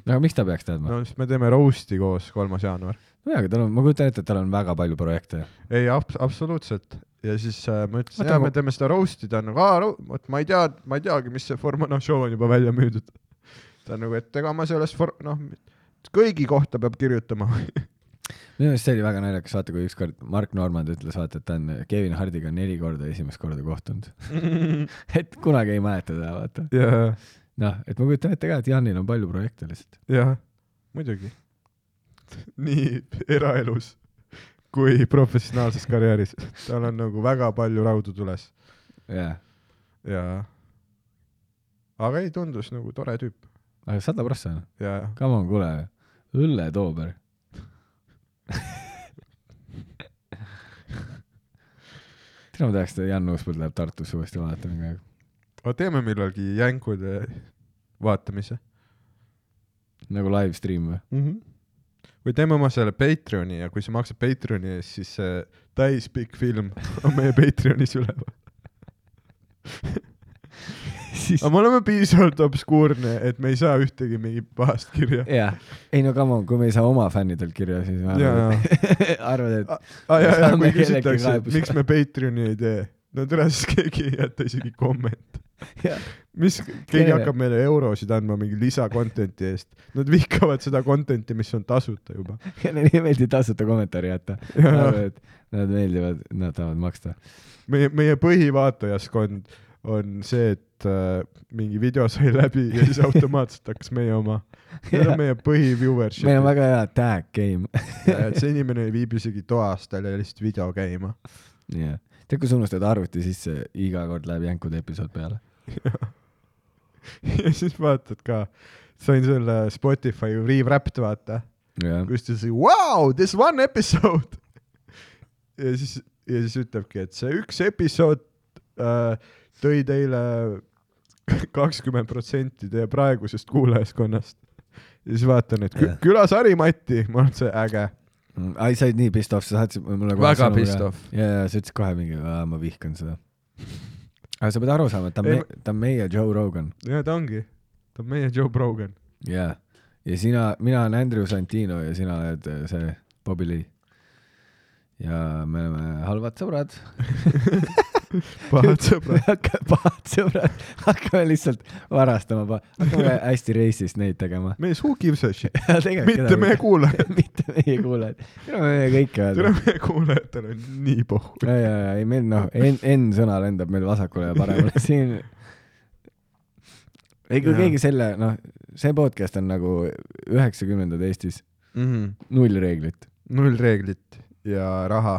aga miks ta peaks teadma no. ?
no siis me teeme roast'i koos , kolmas jaanuar .
nojah , aga tal on , ma kujutan ette , et tal on väga palju projekte .
ei abs- , absoluutselt ja siis äh, ma ütlesin ,
Oota,
jaa ,
aga-
me teeme seda roast'i , ta on nagu , aa , vot ma ei tea , ma ei teagi , mis see form on , noh , show on juba välja müüdud . ta on nagu , et ega ma selles for- , noh , kõigi kohta peab kirjutama .
minu meelest see oli väga naljakas , vaata kui ükskord Mark Normand ütles , vaata , et ta on Kevin Hardiga neli korda esimest korda kohtunud . et kunagi ei mäleta teda , vaata .
ja ,
noh , et ma kujutan ette ka , et Janil on palju projekte lihtsalt .
ja muidugi . nii eraelus kui professionaalses karjääris , tal on nagu väga palju raudu tules
jaa ,
ja , aga ei , tundus nagu tore tüüp
aga sada prossa ,
ja , ja
come on , kuule , Õlle Toober . tere , ma tahaks , et Jan Uuspõld läheb Tartusse uuesti vaatama ka
aga teeme millalgi jänkude vaatamise
nagu live stream või ?
mm . -hmm. või teeme oma selle Patreoni ja kui sa maksad Patreoni eest , siis see täispikk film on meie Patreonis üleval .
siis
aga me oleme piisavalt obskuurne , et me ei saa ühtegi mingit pahast kirja .
jah , ei no come on , kui me ei saa oma fännidelt kirja , siis ma
Jaa,
arvan , et arvad , et
aa jaa , jaa ,
Saame
kui
kellegi
küsitakse , et
kaebuse.
miks me Patreoni ei tee , no tere , siis keegi ei jäta isegi kommenti .
Jah.
mis , keegi
Keegi-
hakkab meile eurosid andma mingi lisakontenti eest , nad vihkavad seda kontenti , mis on tasuta juba .
kellele ei meeldi tasuta kommentaari jätta . Nad meeldivad , nad tahavad maksta .
meie , meie põhivaatajaskond on see , et äh, mingi video sai läbi ja siis automaatselt hakkas meie oma . Need on meie põhi-viewership .
meil on väga hea tag game .
et see inimene ei viibi isegi toas , tal jäi lihtsalt video käima .
jah , tead , kui sa unustad arvuti sisse , iga kord läheb jänkude episood peale .
ja siis vaatad ka , sain selle Spotify rewrapped , vaata ,
jah ,
kus ta ütles , wow , this one episode . ja siis , ja siis ütlebki , et see üks episood äh, tõi teile kakskümmend protsenti teie praegusest kuulajaskonnast . ja siis vaatan , et kü
Jah.
külas Harimati , ma arvan , et see äge .
ai , sa olid nii pissed off , sa saatsid mulle kohe
Väga
sõnumi
pissed
ka.
off.
ja , ja sa ütlesid kohe mingi , ma vihkan seda . aga sa pead aru saama , et ta on
Ei,
me- , ta on meie Joe Rogan .
ja ta ongi , ta on meie Joe Brogan .
jaa , ja sina , mina olen Andrew Santino ja sina oled äh, see Bobby Lee . ja me oleme halvad sõbrad ,
pahad sõbrad .
pahad sõbrad , hakkame lihtsalt varastama , hakkame hästi reisist neid tegema .
mees , who gives a shit ? mitte meie kuulajad ,
mitte meie kuulajad , me võime kõike
tere
öelda .
meie kuulajatel on nii pohhu .
ja , ja , ja ei meil noh , N , N sõna lendab meil vasakule ja paremale siin . ei , kui
Jaa.
keegi selle , noh , see podcast on nagu üheksakümnendad Eestis , Mhm. null reeglit .
null reeglit ja raha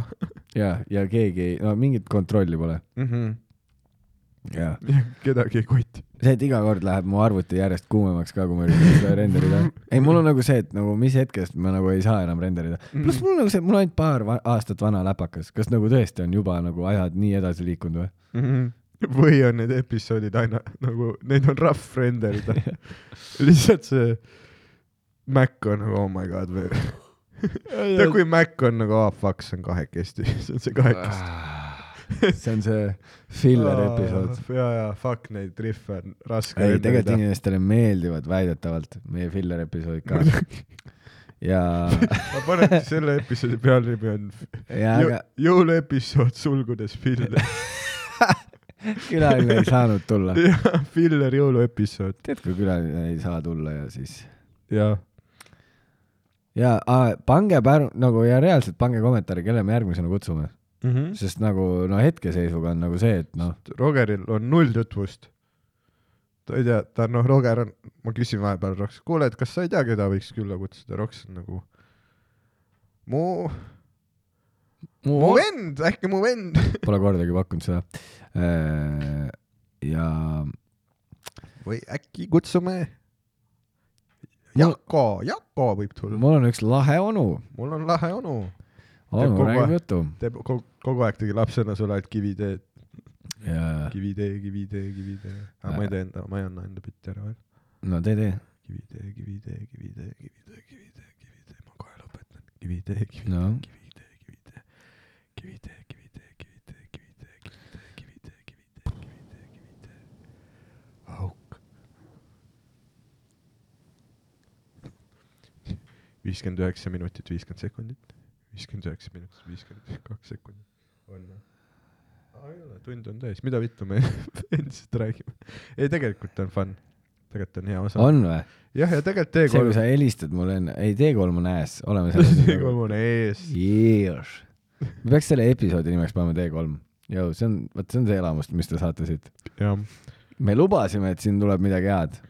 ja , ja keegi ei , no mingit kontrolli pole .
mm . -hmm.
ja
kedagi ei koti .
see , et iga kord läheb mu arvuti järjest kuumemaks ka , kui ma üritan seda renderida . ei , mul on nagu see , et nagu mis hetkest ma nagu ei saa enam renderida . pluss mul on nagu see , mul on ainult paar va aastat vana läpakas , kas nagu tõesti on juba nagu ajad nii edasi liikunud või ?
Mhm. või on need episoodid aina nagu , neid on rough render ida . lihtsalt see Mac on nagu oh my god või . tead , kui Mac on nagu ah oh, fuck , see on kahekesti , see on see kahekesti .
see on see filler episood ..
Ah. ja , ja fuck neid rihve on raske .
ei , tegelikult . inimestele meeldivad väidetavalt meie filler episoodid ka . ja ,
ma panen siis selle episoodi pealnimi on
ja
Jõ-
aga
jõuluepisood sulgudes filler .
külaline ei saanud tulla .
jah , filler jõuluepisood .
tead , kui külaline ei saa tulla ja siis
jah ,
ja a, pange pär- , nagu ja reaalselt pange kommentaari , kelle me järgmisena kutsume ,
Mhm.
sest nagu no hetkeseisuga on nagu see , et noh ,
Rogeril on null tutvust . ta ei tea , ta noh , Roger on , ma küsin vahepeal Roks , kuule , et kas sa ei tea , keda võiks külla kutsuda , Roks on nagu mu , mu vend , äkki mu vend .
pole kordagi pakkunud seda . ja
või äkki kutsume Jako , Jako võib tulla .
mul on üks lahe onu ,
mul on lahe onu , Teeb
onu
kogu aeg.
räägib juttu
teeb kogu, kogu aeg tegi lapsena sulle ainult kiviteed ,
ja
kivitee , kivitee , kivitee . aga ma ei tee enda , ma ei anna enda bitti ära veel .
no tee , tee ,
kivitee , kivitee , kivitee , kivitee , kivitee , kivitee , ma kohe lõpetan . kivitee , kivitee ,
no
kivitee , kivitee , kivitee , kivitee , kivitee , kivitee , kivitee , kivitee , kivitee , kivitee , kivitee . auk . viiskümmend üheksa minutit , viiskümmend sekundit , viiskümmend üheksa minutit , viiskümmend kaks sekundit . on või ? aa ei ole , tund on täis , mida vittu me endiselt räägime . ei , tegelikult on fun . tegelikult on hea osa .
on või ?
jah , ja tegelikult
see , kui
T3 ,
sa helistad mulle enne , ei T3 on ääs , oleme selles
T3 . on ees .
Years . me peaks selle episoodi nimeks panema T3 . Jõu , see on , vot see on see elamus , mis te saate siit .
jah ,
me lubasime , et siin tuleb midagi head .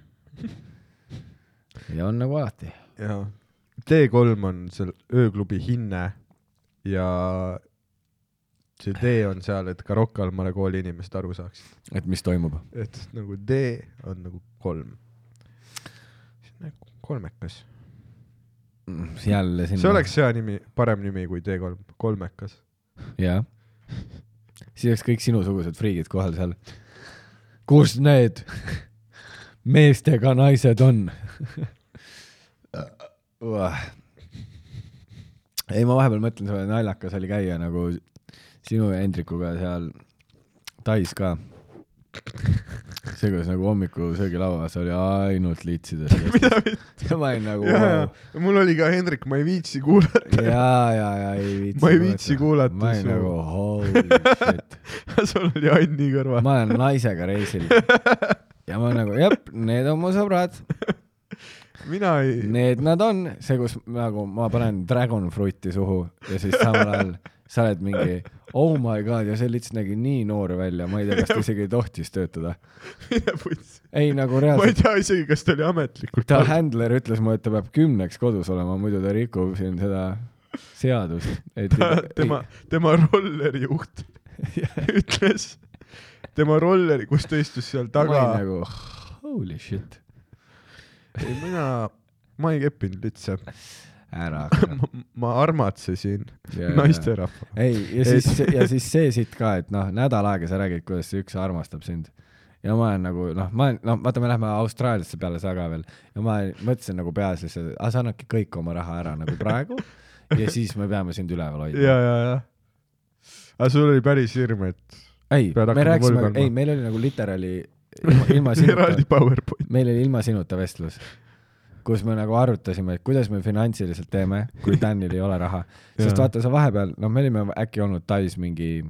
ja on nagu alati .
ja T3 on seal ööklubi hinne ja see D on seal , et ka Rocca al Mare kooli inimesed aru saaksid ,
et mis toimub .
et nagu D on nagu kolm . kolmekas ,
jälle sinna .
see oleks hea nimi , parem nimi kui T3 , kolmekas .
jah . siis oleks kõik sinusugused friigid kohal seal . kus need meestega naised on ? ei , ma vahepeal mõtlen , see naljakas oli käia nagu sinu ja Hendrikuga seal Tais ka . see , kuidas nagu hommikusöögilauas oli ainult liitsides . mida vittu ? ma olin nagu
ja ,
wow. ,
ja mul oli ka Hendrik , ma ei viitsi kuulata ,
ja , ja , ja ei viitsi .
Ma ei viitsi kuulata
ma olin
su-
nagu holy shit .
sul oli Anni kõrval .
ma olen naisega reisil ja ma nagu jep , need on mu sõbrad ,
mina ei ,
need nad on , see , kus nagu ma panen dragon fruit'i suhu ja siis samal ajal sa oled mingi oh my god ja see lihtsalt nägi nii noor välja , ma ei tea , kas ta isegi tohtis töötada .
mine putsi .
ei nagu
ma ei
reaalselt ,
tea isegi , kas ta oli ametlikult
ta händler ütles mulle , et ta peab kümneks kodus olema , muidu ta rikub siin seda seadust , et
tema , tema rolleri juht ütles , tema rolleri , kus ta istus seal
ma
taga
olin , nagu holy shit ,
ei mina , ma ei keppinud üldse ,
ära hakka .
ma armatsesin naisterahva .
ei , ja
Et-
siis , ja siis see siit ka , et noh , nädal aega sa räägid , kuidas see üks armastab sind . ja ma olen nagu noh , ma olen , noh , vaata , me lähme Austraaliasse peale seda ka veel ja ma mõtlesin nagu peas lihtsalt , aga sa annadki kõik oma raha ära nagu praegu ja siis me peame sind üleval hoidma
ja ,. ja , ja . aga sul oli päris hirm , et
ei , me
pead hakkama
rääkisime ,
võlgama.
ei , meil oli nagu literaali ilma, ilma sinuta
eraldi , PowerPoint .
meil oli ilma sinuta vestlus kus me nagu arutasime , et kuidas me finantsiliselt teeme , kui Danil ei ole raha , sest
Jaa.
vaata sa vahepeal , noh , me olime äkki olnud Tais mingi ,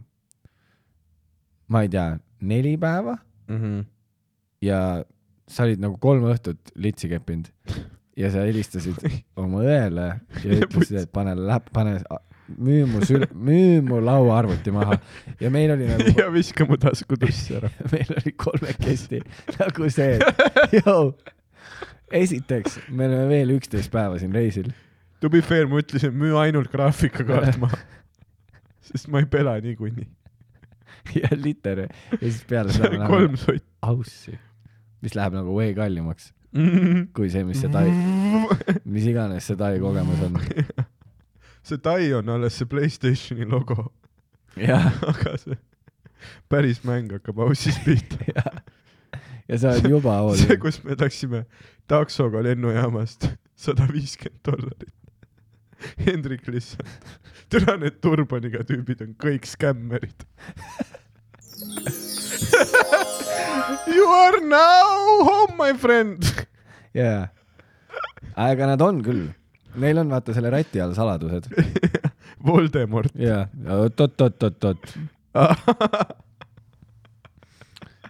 ma ei tea , neli päeva Mhm. ja sa olid nagu kolm õhtut litsi keppinud ja sa helistasid oma õele ja ütlesid , et pane läp- , pane , müü mu sül- , müü mu lauaarvuti maha ja meil oli nagu ,
ja viska mu taskutusse ära .
meil oli kolmekesti nagu see , et jõu , esiteks , me oleme veel üksteist päeva siin reisil
To be fair , ma ütlesin , müü ainult graafikakaart maha . sest ma ei pela niikuinii .
ja liter ja siis peale seda me läheme
kolm sotti .
aussi , mis läheb nagu way kallimaks kui see , mis see Tai , mis iganes see Tai kogemus on .
see Tai on alles see Playstationi logo ,
jah
aga see päris mäng hakkab ausis pihta .
ja, ja sa oled juba
see ,
hoolinud .
kus me läksime taksoga lennujaamast sada viiskümmend dollarit Hendrik lihtsalt , türa need turbaniga tüübid on kõik skämmerid . You are now home my friend .
jaa . aga nad on küll , neil on vaata selle räti all saladused .
Voldemort .
jaa , oot-oot-oot-oot-oot .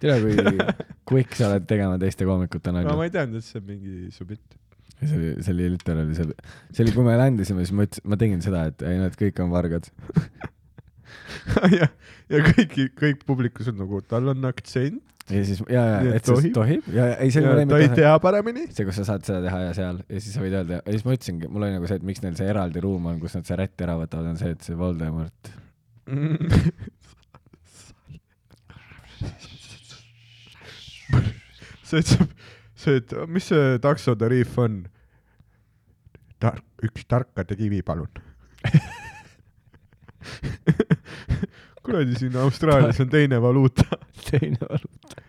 tea , kui quick sa oled tegema teiste koomikute
no ma
nalja .
ei teadnud , et see on mingi su bitt .
see oli , see oli literaalselt , see oli , kui me landisime , siis ma ütlesin , ma tegin seda , et ei nad kõik on vargad .
ja , ja kõik , kõik publikus on nagu , tal on aktsent
ja siis , ja , ja
Ja ,
et siis
tohib?
tohib ja , ei see
ja
oli mu
ta ei
lemmik
tea paremini .
see , kus sa saad seda teha ja seal ja siis sa võid öelda ja siis ma ütlesingi , mul oli nagu see , et miks neil see eraldi ruum on , kus nad see rätt ära võtavad , on see , et see Voldemort .
see , et sa , see , et mis see taksotariif on ? tark , üks tarkade kivi , palun . kuradi siin Austraalias on teine valuuta .
teine valuuta .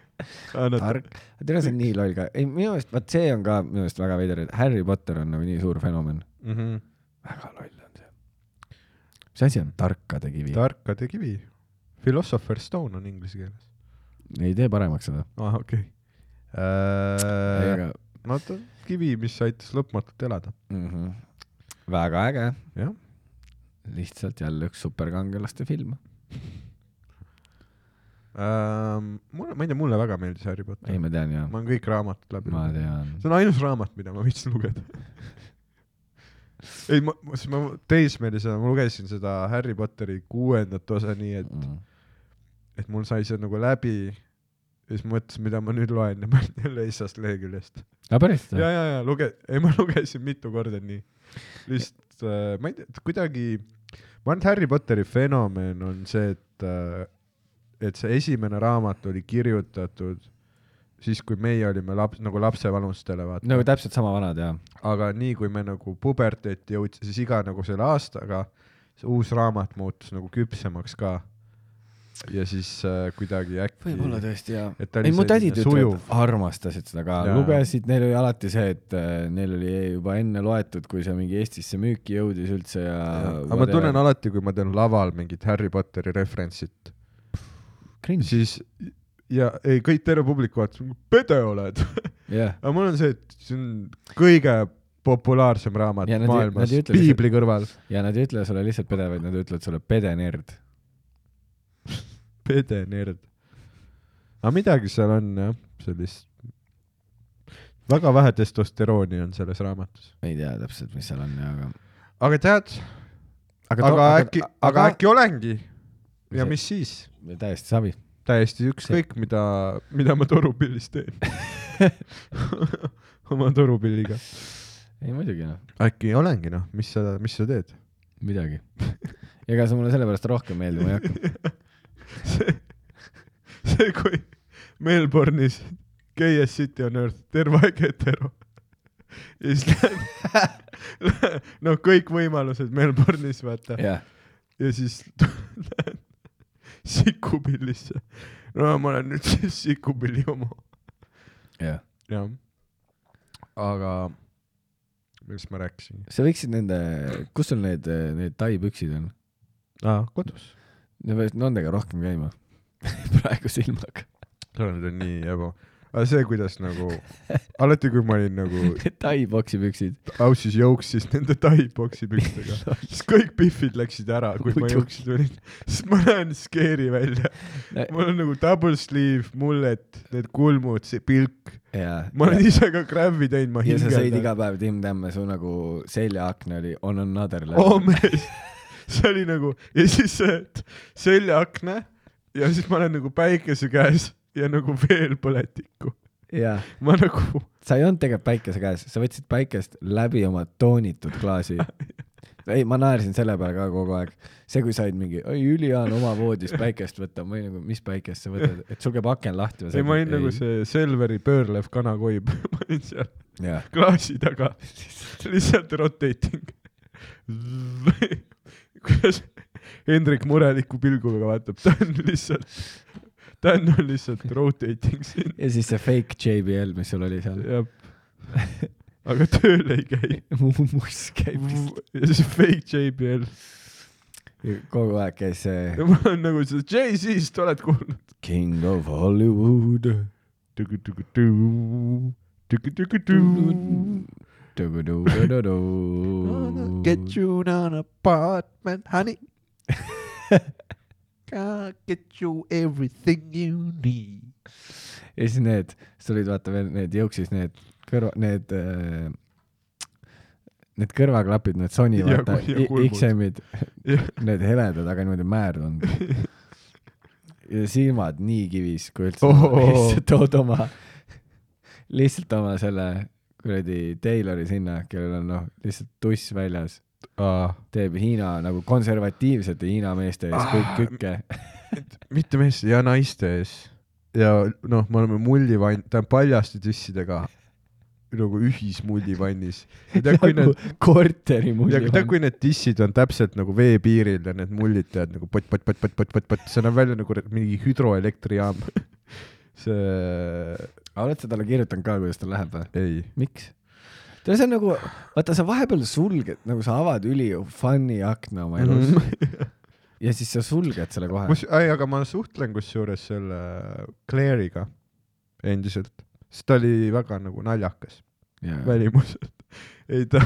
tark , tere , see on nii loll ka , ei minu meelest , vaat see on ka minu meelest väga veider , et Harry Potter on nagu nii suur fenomen .
Mhm.
väga loll on see . mis asi on tarkade kivi Tar ?
tarkade kivi . Philosopher's Stone on inglise keeles .
ei tee paremaks seda .
ah , okei Äh, okay. .
Aga...
vaata , kivi , mis aitas lõpmatult elada .
Mm -hmm. väga äge ,
jah ,
lihtsalt jälle üks superkangelaste film .
Ähm, mulle , ma ei tea , mulle väga meeldis Harry Potter
ei ,. ma tean ja ,
ma olen kõik raamatud läbi
ma
lugenud .
tean .
see on ainus raamat , mida ma võiks lugeda . ei , ma , siis ma teismelisena ma lugesin seda Harry Potteri kuuendat osa nii ,
Mm.
et , et mul sai see nagu läbi . ja siis mõtlesin , mida ma nüüd loen ja ma olin jälle esimesest leheküljest .
aga päriselt
ja ,
või ?
ja , ja luge- , ei ma lugesin mitu korda nii . lihtsalt äh, ma ei tea , kuidagi , ma arvan , et Harry Potteri fenomen on see , et äh, , et see esimene raamat oli kirjutatud siis , kui meie olime laps , nagu lapsevanustele vaata
nagu täpselt sama vanad ja .
aga nii kui me nagu puberteeti jõudsime , siis iga nagu selle aastaga see uus raamat muutus nagu küpsemaks ka . ja siis äh, kuidagi äkki ,
võib-olla tõesti jaa .
Et ta oli
ei , mu
selline
tädid ütlevad
sujuv. ,
armastasid seda ka ,
Jaa.
lugesid , neil oli alati see , et äh, neil oli juba enne loetud , kui see mingi Eestisse müüki jõudis üldse ja .
aga ma tunnen alati , kui ma teen laval mingit Harry Potteri referentsit ,
cringe'i .
siis ja ei , kõik terve publik vaatas , pede oled .
jah ,
aga mul on see , et see on kõige populaarsem raamat
Ja nad ei- nad
maailmas
ei , ütle
piibli kõrval .
ja nad ei ütle sulle lihtsalt pede , vaid nad ütlevad sulle pedenerd .
pede nerd . aga midagi seal on jah , sellist , väga vähe testosterooni on selles raamatus .
ei tea täpselt , mis seal on , aga .
aga tead , aga, aga äkki , aga äkki olengi . ja
See-
mis siis ?
äkki . täiesti savi .
täiesti ükskõik , mida , mida ma torupillis teen . oma torupilliga .
ei muidugi noh ,
äkki olengi noh , mis sa , mis sa teed ?
midagi . ega see mulle sellepärast rohkem meeldima ei hakka .
see , see , kui Melbourne'is Gayest City on Earth , terve aeg hetero . ja siis lähed , noh , kõik võimalused Melbourne'is , vaata .
jah ,
ja siis lähed Sikupillisse . no ma olen nüüd siis Sikupilli homo .
jah .
jah . aga , millest ma rääkisin ?
sa võiksid nende , kus sul need , need tai püksid on ?
aa , kodus .
Nad peaksid nendega rohkem käima . praeguse ilmaga .
seal on nii eba . aga see , kuidas nagu , alati kui ma olin nagu
tai poksipüksid .
Aussis jooksis nende taiboksi pükstega , siis kõik pihvid läksid ära , kui ma
Muidugi.
jooksis tulin , siis ma näen skeeri välja . mul on nagu double sleeve , mullet , need kulmud , see pilk ,
jaa .
ma olen ise ka crab'i teinud , ma
ja sa sõid
hingeldan .
iga päev Tim Tamme , su nagu seljaakne oli on another
oo
level .
Oh, mees , see oli nagu ja siis see et seljaakne ja siis ma olen nagu päikese käes ja nagu veel põletikku .
jaa ,
ma nagu ,
sa ei olnud tegelikult päikese käes , sa võtsid päikest läbi oma toonitud klaasi . ei , ma naersin selle peale ka kogu aeg . see , kui said mingi , oi ülihea on oma voodis päikest võtta , ma olin nagu , mis päikest sa võtad , et sul käib aken lahti .
ei ma olin nagu . see Selveri pöörlev kanakoib , ma olin seal
jah ,
klaasi taga , lihtsalt rotating . kuidas Hendrik mureliku pilguga vaatab , ta on lihtsalt , Dan on lihtsalt rotating siin .
ja siis see fake JBL , mis sul oli seal .
jah , aga tööl ei käi .
mu must käib vist
ja siis fake JBL .
kogu aeg käis see
ja mul on nagu see Jay-Z-st oled kuulnud .
King of Hollywood .
Get you an apartment, honey. I'll get you everything you need .
ja siis need , siis tulid vaata veel need jooksis need kõrva , need äh, , need kõrvaklapid , need Sony
Ja
vaata
kui- ja
i-
kulmud.
XM-id ,
Jah.
need heledad , aga niimoodi määrdunud . ja silmad nii kivis , kui üldse
Oo.
lihtsalt tood oma , lihtsalt oma selle kuradi Taylori sinna , kellel on noh , lihtsalt tuss väljas ,
Ah.
teeb Hiina nagu konservatiivsete Hiina meeste ees kõik
Ah.
kükke .
mitte meeste ja naiste ees . ja noh , me oleme mullivann , tähendab paljaste tissidega nagu ühismullivannis . tead , kui need ,
korteri mulje .
Nagu tead , kui need tissid on täpselt nagu veepiiril ja need mullid tead nagu pott-pott-pott-pott-pott-pott , see näeb välja nagu mingi hüdroelektrijaam . see ,
aga oled sa talle kirjutanud ka , kuidas tal läheb või ?
ei ,
miks ? tead , see on nagu , vaata , sa vahepeal sulged , nagu sa avad üli fun'i akna oma elus mm -hmm. ja siis sa sulged selle kohe Kus... .
Mhm. kus , ei , aga ma suhtlen kusjuures selle Claire'iga endiselt , sest ta oli väga nagu naljakas
ja ,
välimuselt . ei ta ,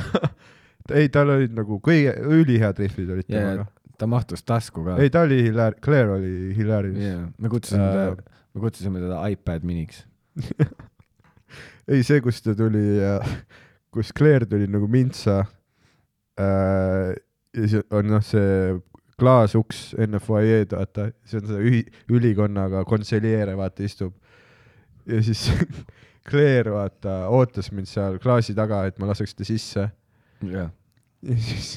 ei tal olid nagu kõige , ülihead rihvid olid
Ja, ja.
temaga .
ta mahtus tasku ka .
ei ta oli hilaar- , Claire oli hilaaris yeah. .
jaa , me kutsusime
Äh.
teda , me kutsusime teda iPad miniks .
ei see , kus ta tuli ja kus Claire tuli nagu mintsa äh, . ja siis on noh , see klaasuks enne fuajeed , E, vaata , see on see ühi- , ülikonnaga konseljeere , vaata istub . ja siis Claire , vaata , ootas mind seal klaasi taga , et ma laseks ta sisse
jah ,
ja siis ,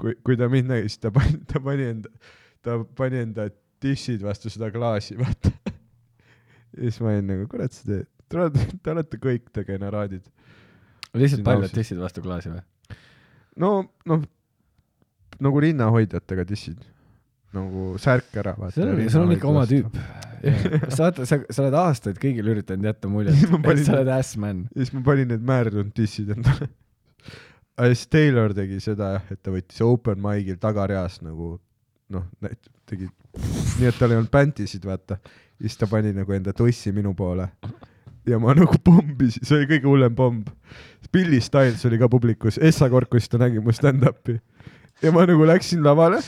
kui , kui ta mind nägi , siis ta pani , ta pani enda , ta pani enda tissid vastu seda klaasi , vaata . ja siis ma olin nagu , kurat , te , te olete , te olete kõik te generaadid .
lihtsalt
Siin
paljad
ausalt.
tissid vastu klaasi või ?
no , noh , nagu rinnahoidjatega tissid , nagu särk ära , vaata .
sul on , sul on ikka oma tüüp . sa vaata , sa , sa oled aastaid kõigile üritanud jätta muljet ,
Ma panin-
et sa oled ässman .
ja siis ma panin need määrdunud tissid endale . aga siis Taylor tegi seda jah , et ta võttis open mic'il tagareas nagu noh , tegi , nii et tal ei olnud bändisid , vaata . ja siis ta pani nagu enda tussi minu poole . ja ma nagu pommisin , see oli kõige hullem pomm . Billy Styles oli ka publikus , Essa Korkus , ta nägi mu stand-up'i . ja ma nagu läksin lavale .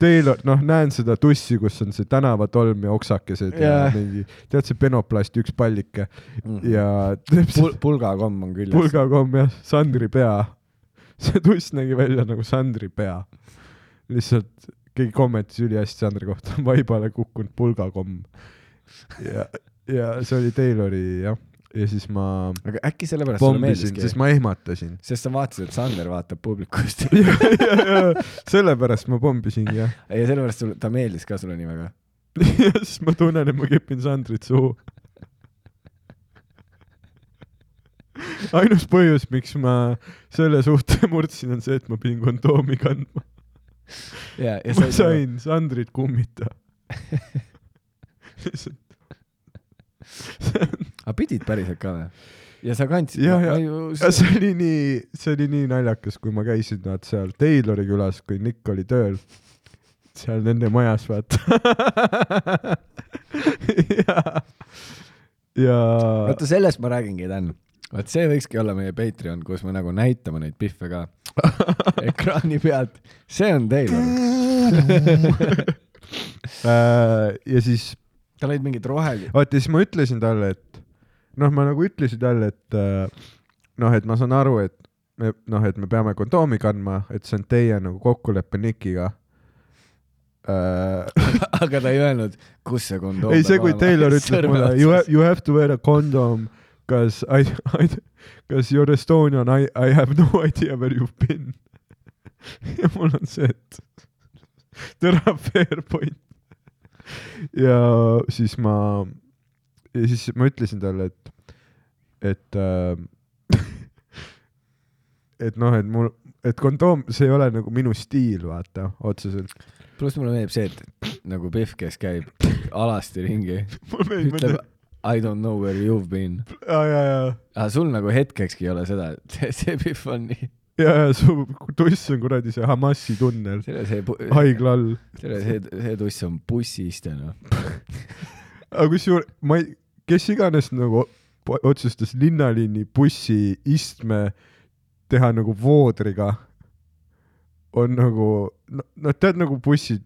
Taylor , noh , näen seda tussi , kus on see tänavatolm ja oksakesed ja
Jaa.
mingi , tead see penoplast , üks pallike ja teeb
Pul- , pulgakomm on küljes .
pulgakomm jah , Sandri pea . see tuss nägi välja nagu Sandri pea . lihtsalt keegi kommentis ülihästi Sandri kohta , vaibale kukkunud pulgakomm . ja , ja see oli Taylori jah , ja siis ma
aga äkki sellepärast sulle
pommisin ,
meeldiski
siis ? ma ehmatasin .
sest sa vaatasid , et Sander vaatab publikust ja
sellepärast ma pommisingi jah .
sellepärast sul, ta meeldis ka sulle nii väga .
ja siis ma tunnen , et ma kipin Sandrit suhu . ainus põhjus , miks ma selle suhte murdsin , on see , et ma pidin kondoomi kandma .
ja , ja
ma sain Sandrit kummita .
aga Ah, pidid päriselt ka või ? ja sa kandsid .
Jah, jah. ja see oli nii , see oli nii naljakas , kui ma käisin nad seal Taylori külas , kui Nick oli tööl , seal nende majas , vaata . ja , ja
vaata , sellest ma räägingi , Dan . vot see võikski olla meie Patreon , kus me nagu näitame neid pihve ka ekraani pealt . see on teil .
Äh, ja siis ,
tal olid mingid rohelised .
vaata siis ma ütlesin talle , et noh , ma nagu ütlesin talle , et äh, noh , et ma saan aru , et me noh , et me peame kondoomi kandma , et see on teie nagu kokkulepe Nikiga äh, .
aga ta ei öelnud , kus see kondoom
ei , see , kui Taylor ütles mulle you have , you have to wear a condom , kas I, I , kas you are Estonian , I , I have no idea where you have been . ja mul on see , et tere , fair point . ja siis ma , ja siis ma ütlesin talle , et , et äh, et noh , et mul , et kondoom , see ei ole nagu minu stiil , vaata , otseselt .
pluss mulle meeldib see , et nagu Pihv , kes käib alasti ringi ,
mulle meeldib ,
ütleb I don't know where you've been .
ja , ja , ja ,
aga sul nagu hetkekski ei ole seda , see , see Biff on nii ,
ja , ja su tuss on kuradi see Hamasi tunnel
selle see ,
haigla all .
selle see , see tuss on bussiiste noh .
aga kusjuures ma ei , kes iganes nagu po- otsustas linnaliini bussiistme teha nagu voodriga , on nagu , noh , tead nagu bussid ,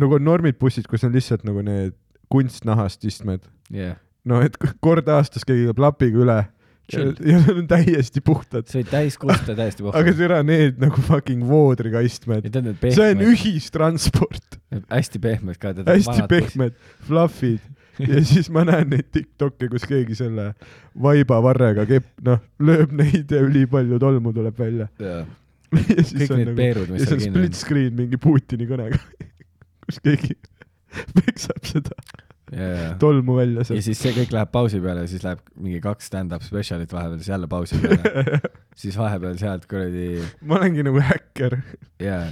nagu on normid bussid , kus on lihtsalt nagu need kunstnahast istmed ,
jah ,
no et k- kord aastas keegi käib lapiga üle ja,
Chill.
ja nad on täiesti puhtad ,
see oli täis kusta täiesti
aga
puhas .
türa need nagu fucking voodriga istmed ,
Need on need
see on
pehmed ,
ühistransport
hästi pehmed ka .
hästi . pehmed , fluffid ja siis ma näen neid Tiktoke , kus keegi selle vaibavarrega kepp , noh , lööb neid ja ülipalju tolmu tuleb välja . ja siis
kõik
on
need
nagu ,
peerud ,
ja
mis
see
seal
on
kinni
split
on .
screen mingi Putini kõnega , kus keegi peksab seda
ja
tolmu välja
ja
sealt .
siis see kõik läheb pausi peale , siis läheb mingi kaks stand-up spetsialit vahepeal , siis jälle pausi peale . siis vahepeal sealt kuradi
ma olengi nagu häkker .
ja ,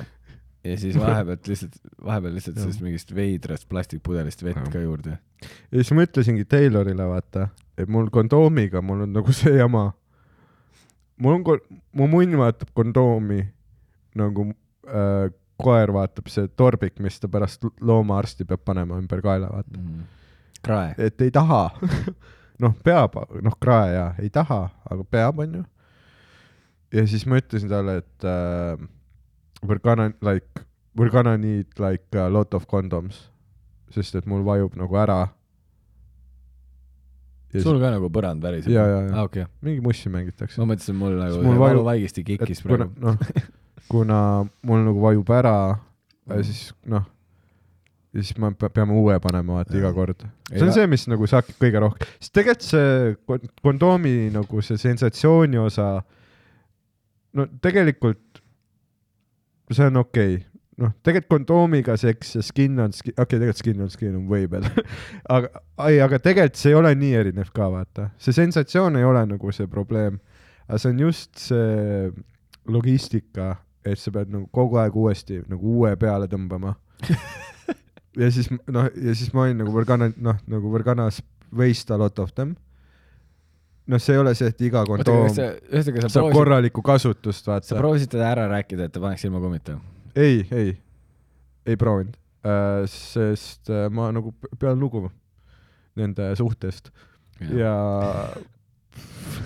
ja siis vahepealt lihtsalt , vahepeal lihtsalt sellest mingist veidrast plastikpudelist vett ka juurde .
ja siis ma ütlesingi Taylorile , vaata , et mul kondoomiga , mul on nagu see jama . mul on ko- , mu munn vaatab kondoomi nagu äh, koer vaatab see torbik , mis ta pärast l- loomaarsti peab panema ümber kaela , vaata .
krae .
et ei taha . noh , peab , noh , krae ja ei taha , aga peab , onju . ja siis ma ütlesin talle , et uh, we are gonna like , we are gonna need like a lot of condoms , sest et mul vajub nagu ära . ja
sul
siis
ka nagu põrand päris .
Jaa, jaa, jaa.
aa , okei .
mingi mussi mängitakse .
ma mõtlesin , mul nagu
Siis mul
see
vaju-
valuvaigisti kikkis
kuna
praegu .,
noh , kuna mul nagu vajub ära ,
Mm.
siis noh , ja siis me pe- peame uue panema vaata iga kord . see on
Ei,
see , mis nagu saabki kõige rohkem , sest tegelikult see kon- kondoomi nagu see sensatsiooni osa , no tegelikult see on okei okay. noh , tegelikult kondoomiga seks ja skin on skin , okei okay, , tegelikult skin on skin on way better , aga , ei , aga tegelikult see ei ole nii erinev ka vaata , see sensatsioon ei ole nagu see probleem , aga see on just see logistika , et sa pead nagu kogu aeg uuesti nagu uue peale tõmbama . ja siis m- noh , ja siis ma olin nagu Vergana , noh nagu Verganas waste a lot of them . noh , see ei ole see , et iga
oota ,
kondoom
kas sa , ühesõnaga sa
saab
proovisid ,
korralikku kasutust , vaata
sa . proovisid teda ära rääkida , et ta paneks ilma kummita ?
ei , ei , ei proovinud , sest äh, ma nagu p- pean lugu nende suhtest ja, ja...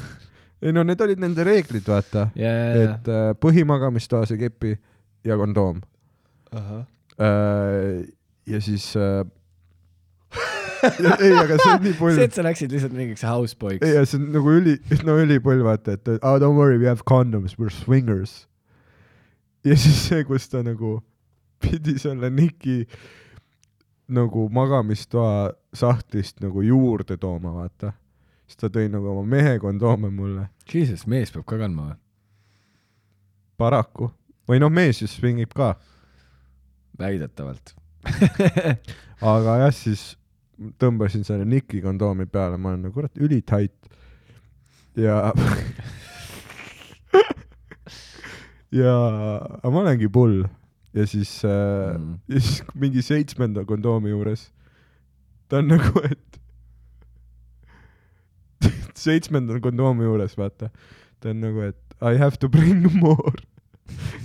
ei no need olid nende reeglid , vaata ,
ja , ja ,
et äh, põhimagamistoas ei kepi ja kondoom .
ja .
ja siis äh... ei , aga see on nii
see ,
pull ,
et sa läksid lihtsalt mingiks houseboy'ks .
ei ja see on nagu üli , no ülipull vaata , et oh, don't worry , we have condoms , we are swingers . ja siis see , kus ta nagu pidi selle Niki nagu magamistoa sahtlist nagu juurde tooma , vaata . siis ta tõi nagu oma mehe kondoome mulle ,
Jesus , mees peab ka kandma või ?
paraku . või noh , mees ju swingib ka ,
väidetavalt .
aga jah , siis tõmbasin selle Niki kondoomi peale , ma olen nagu kurat ülitait ja ja , aga ma olengi pull ja siis äh, mm.
Mm. ,
ja siis mingi seitsmenda kondoomi juures ta on nagu , et seitsmenda kondoomi juures , vaata , ta on nagu , et I have to bring more .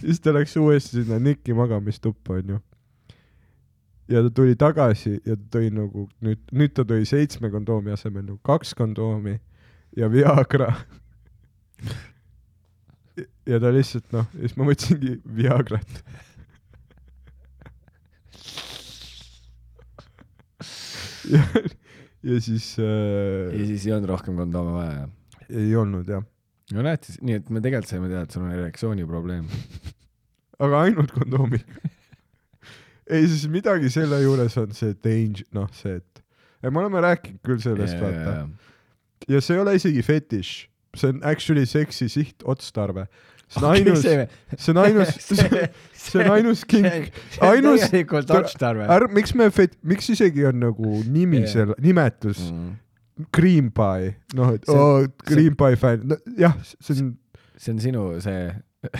siis ta läks uuesti sinna Niki magamistuppa , onju . ja ta tuli tagasi ja ta tõi nagu nüüd , nüüd ta tõi seitsme kondoomi asemel nagu kaks kondoomi ja Viagra . ja ta lihtsalt noh , ja siis ma võtsingi Viagrat . ja , ja siis
ja
äh,
siis ei olnud rohkem kondoome vaja , jah ?
ei olnud jah ,
no näed siis , nii et me tegelikult saime teada , et sul on erektsiooniprobleem .
aga ainult kondoomiga . ei , siis midagi selle juures on see danger , noh , see , et ei, me oleme rääkinud küll sellest , vaata . ja see ei ole isegi fetiš , see on actually seksi sihtotstarve . see on ainus , see on ainus , see on ainus kink , ainus-
tegelikult
ta-
otstarve .
ärme , miks me fet- , miks isegi on nagu nimi
Jaa. Mm.
selle , nimetus
Mhm.
cream pie , noh , et
See-
oo
see-
cream pie fänn , no jah , see on ,
see on sinu see ,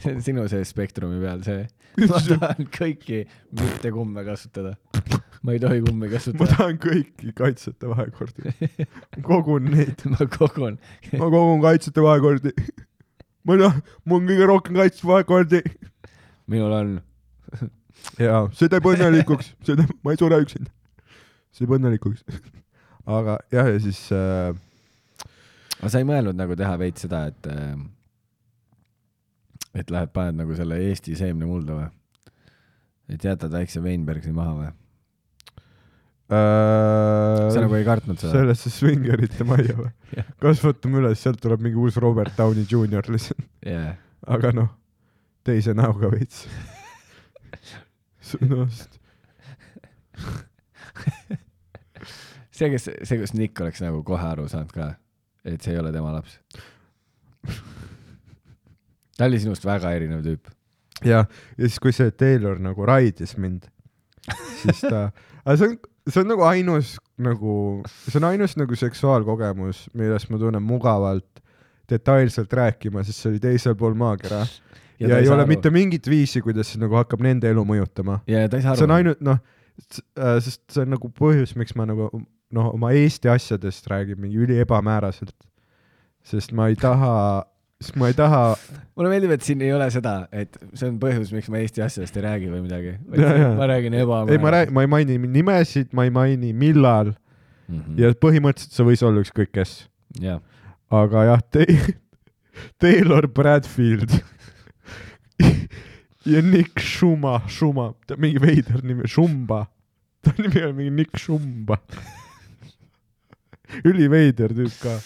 see on sinu see spektrumi peal see . ma tahan kõiki , mitte kumme kasutada . ma ei tohi kummi
ma
kasutada .
tahan kõiki kaitsjate vahekordi . kogun neid ,
ma kogun .
ma kogun kaitsjate vahekordi . ma tahan , mul on kõige rohkem kaitsjate vahekordi .
minul on ,
jaa , see teeb õnnelikuks , see teeb , ma ei sure üksinda . see teeb õnnelikuks . aga jah , ja siis äh,
aga sa ei mõelnud nagu teha veits seda , et , et lähed , paned nagu selle Eesti seemne mulda või ? et jätad väikse Weinbergi maha või ? sa
äh,
nagu ei kartnud seda ?
sellesse svingerite majja või
Jah. ?
kasvatame üles , sealt tuleb mingi uus Robert Downey Jr lihtsalt ,
jaa ,
aga noh , teise näoga veits . noh ,
see , kes , see , kus Nick oleks nagu kohe aru saanud ka , et see ei ole tema laps . ta oli sinust väga erinev tüüp .
ja , ja siis , kui see Taylor nagu raidis mind , siis ta , aga see on , see on nagu ainus nagu , see on ainus nagu seksuaalkogemus , millest ma tunnen mugavalt detailselt rääkima , sest see oli teisel pool maakera ja, ja ei ole aru. mitte . mingit viisi , kuidas see nagu hakkab nende elu mõjutama .
ja ta ei saa aru .
see on . ainult noh , sest see on nagu põhjus , miks ma nagu noh , oma Eesti asjadest räägin mingi üliebamääraselt , sest ma ei taha , sest ma ei taha
mulle meeldib , et siin ei ole seda , et see on põhjus , miks ma Eesti asjadest ei räägi või midagi .
Jaa, jaa.
ma Hmm. räägin
ei , ma räägin ,
ebamääraselt .
ma ei maini nimesid , ma ei maini , millal
ma
ja põhimõtteliselt see võis olla ükskõik kes ,
Mhm, jah .
aga jah te , Taylor Bradfield ja Nick Schuma , Schuma , ta mingi veider nimi , Schumba , ta nimi on mingi Nick Schumba . üliveider tüüp ka ,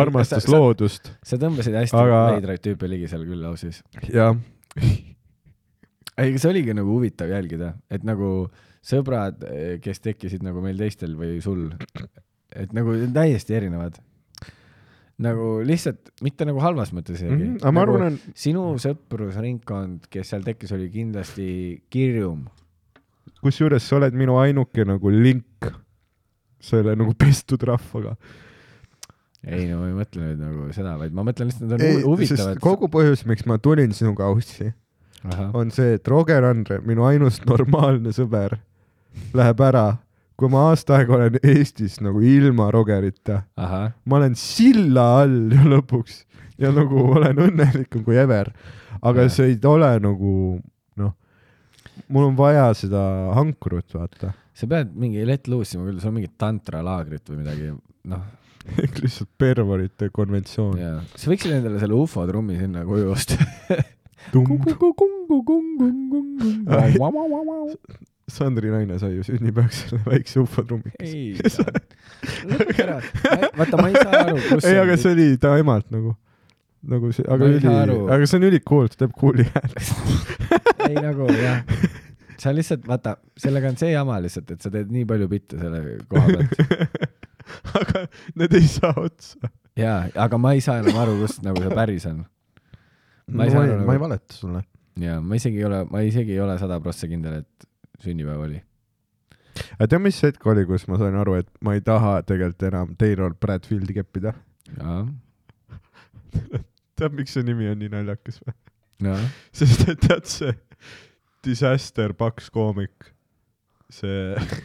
armastas
Kas sa- sa-
loodust
Mhm. sa tõmbasid hästi aga...
Aga-
veidraid tüüpe ligi seal küll lauses .
ja
ei , see oligi nagu huvitav jälgida , et nagu sõbrad , kes tekkisid nagu meil teistel või sul , et nagu täiesti erinevad . nagu lihtsalt , mitte nagu halvas mõttes isegi
Mhm, aga ma
nagu,
arvan, on-
sinu sõprusringkond , kes seal tekkis , oli kindlasti kirjum .
kusjuures sa oled minu ainuke nagu link selle nagu pestud rahvaga .
ei no ma ei mõtle nüüd nagu seda , vaid ma mõtlen lihtsalt , nad on
ei
hu- , huvitavad
sest . kogu põhjus , miks ma tulin sinuga aussi ,
kogu .
on see , et Roger Andre , minu ainus normaalne sõber , läheb ära , kui ma aasta aega olen Eestis nagu ilma Rogerita .
ahah ,
ma olen silla all ju lõpuks ja nagu olen õnnelikum kui ever . aga
Jaa.
see ei ole nagu noh , mul on vaja seda hankrut , vaata .
sa pead mingi let loose ima küll , sul on mingi tantralaagrit või midagi , noh
ehk lihtsalt pervorite konventsioon .
jaa , sa võiksid endale selle ufo trummi sinna koju osta .
Ai. Sandri naine sai ju sünnipäevaks selle väikse ufotrummi .
ei , lõpeta ära . vaata , ma ei saa aru , kus
ei , aga see oli ta emalt nagu , nagu see , aga
Ma ei
üli
saa aru. ,
aga see on ülikool , ta teeb kooli hääle .
ei nagu jah , sa lihtsalt vaata , sellega on see jama lihtsalt , et sa teed nii palju bitte selle koha pealt
aga need ei saa otsa .
ja , aga ma ei saa enam aru , kust nagu see päris on . Ma
ma
ei
ei
saa aru, nagu-
valeta sulle .
ja ma isegi ei ole , ma isegi ei ole sada prossa kindel , et sünnipäev oli .
aga tead , mis hetk oli , kus ma sain aru , et ma ei taha tegelikult enam Taylor Bradfieldi keppida ? tead , miks see nimi on nii naljakas või ?
jah ,
sest et tead see Disaster Paks koomik , see ,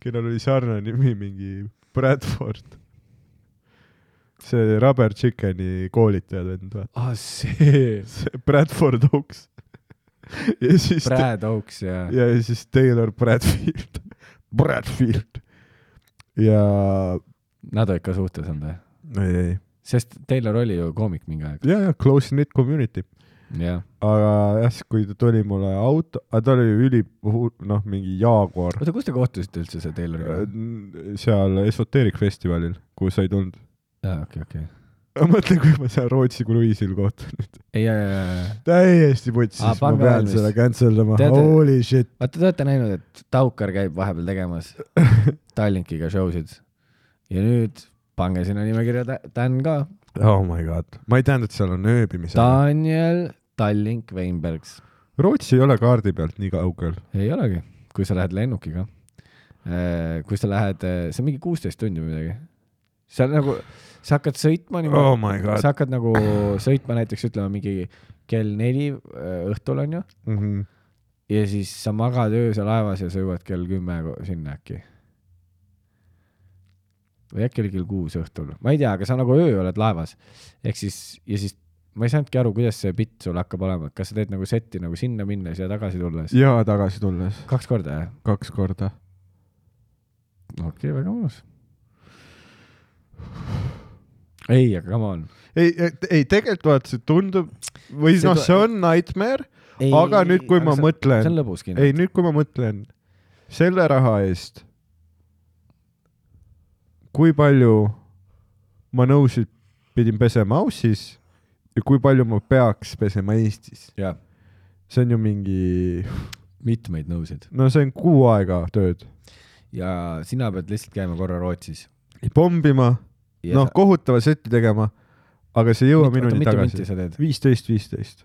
kellel oli sarnane nimi mingi Bradford . see Rubber Chickeni koolitaja vend , vaata .
aa Ah, see ,
see Bradford Oaks . ja siis ,
Brad Oaks ja
ja siis Taylor Bradfield , Bradfield . ja ,
nad on ikka suhtes olnud või ?
ei , ei ,
sest Taylor oli ju koomik mingi aeg .
ja , ja Close Knit Community .
jah ,
aga jah , kui ta tuli mulle auto , ta oli ju üli , noh , mingi Jaguar
oota , kus te kohtusite üldse selle Tayloriga ?
Äh, seal Esoteric festivalil , kuhu sa ei tulnud .
aa , okei , okei .
ma mõtlen , kui ma seal Rootsi kruiisil kohtun nüüd .
ei , ja , ja , ja ,
täiesti vutsis
Aa, ,
ma
Ah, pange
pean
valmis.
selle cancel dama ,
Teate-
holy shit .
vaata , te olete näinud , et Taukar käib vahepeal tegemas Tallinkiga show sid ja nüüd pange sinna nimekirja tä- Dan ka ,
oh my god , ma ei teadnud , et seal on ööbimise Ta... .
Daniel Tallink Weinbergs .
Rootsi ei ole kaardi pealt nii kaugel .
ei olegi , kui sa lähed lennukiga . kui sa lähed , see on mingi kuusteist tundi või midagi . seal nagu , sa hakkad sõitma niimoodi
Oh my god.
sa hakkad nagu sõitma näiteks ütleme mingi kell neli äh, eh, õhtul onju
mm . -hmm.
ja siis sa magad öösel laevas ja sa jõuad kell kümme ko- sinna äkki . või äkki oli kell kuus õhtul , ma ei tea , aga sa nagu öö oled laevas . ehk siis , ja siis ma ei saanudki aru , kuidas see bitt sul hakkab olema , et kas sa teed nagu setti nagu sinna minnes ja tagasi tulles .
ja tagasi tulles
kaks korda , jah ?
kaks korda .
okei okay, , väga mõnus . ei , aga come on .
ei , ei tegelikult vaata , see tundub või
See
noh ,
tu-
see on nightmare , aga nüüd , kui ma
see on
mõtlen ,
lõbus kindlasti .
ei nüüd , kui ma mõtlen selle raha eest , kui palju ma nõusid , pidin pesema Aussis ja kui palju ma peaks pesema Eestis ,
jaa ,
see on ju mingi ,
mitmeid nõusid .
no see on kuu aega tööd ,
ja sina pead lihtsalt käima korra Rootsis .
pommima , noh , kohutava seti tegema , aga see ei jõua minuni
mitu minti
tagasi .
sa teed ?
viisteist , viisteist .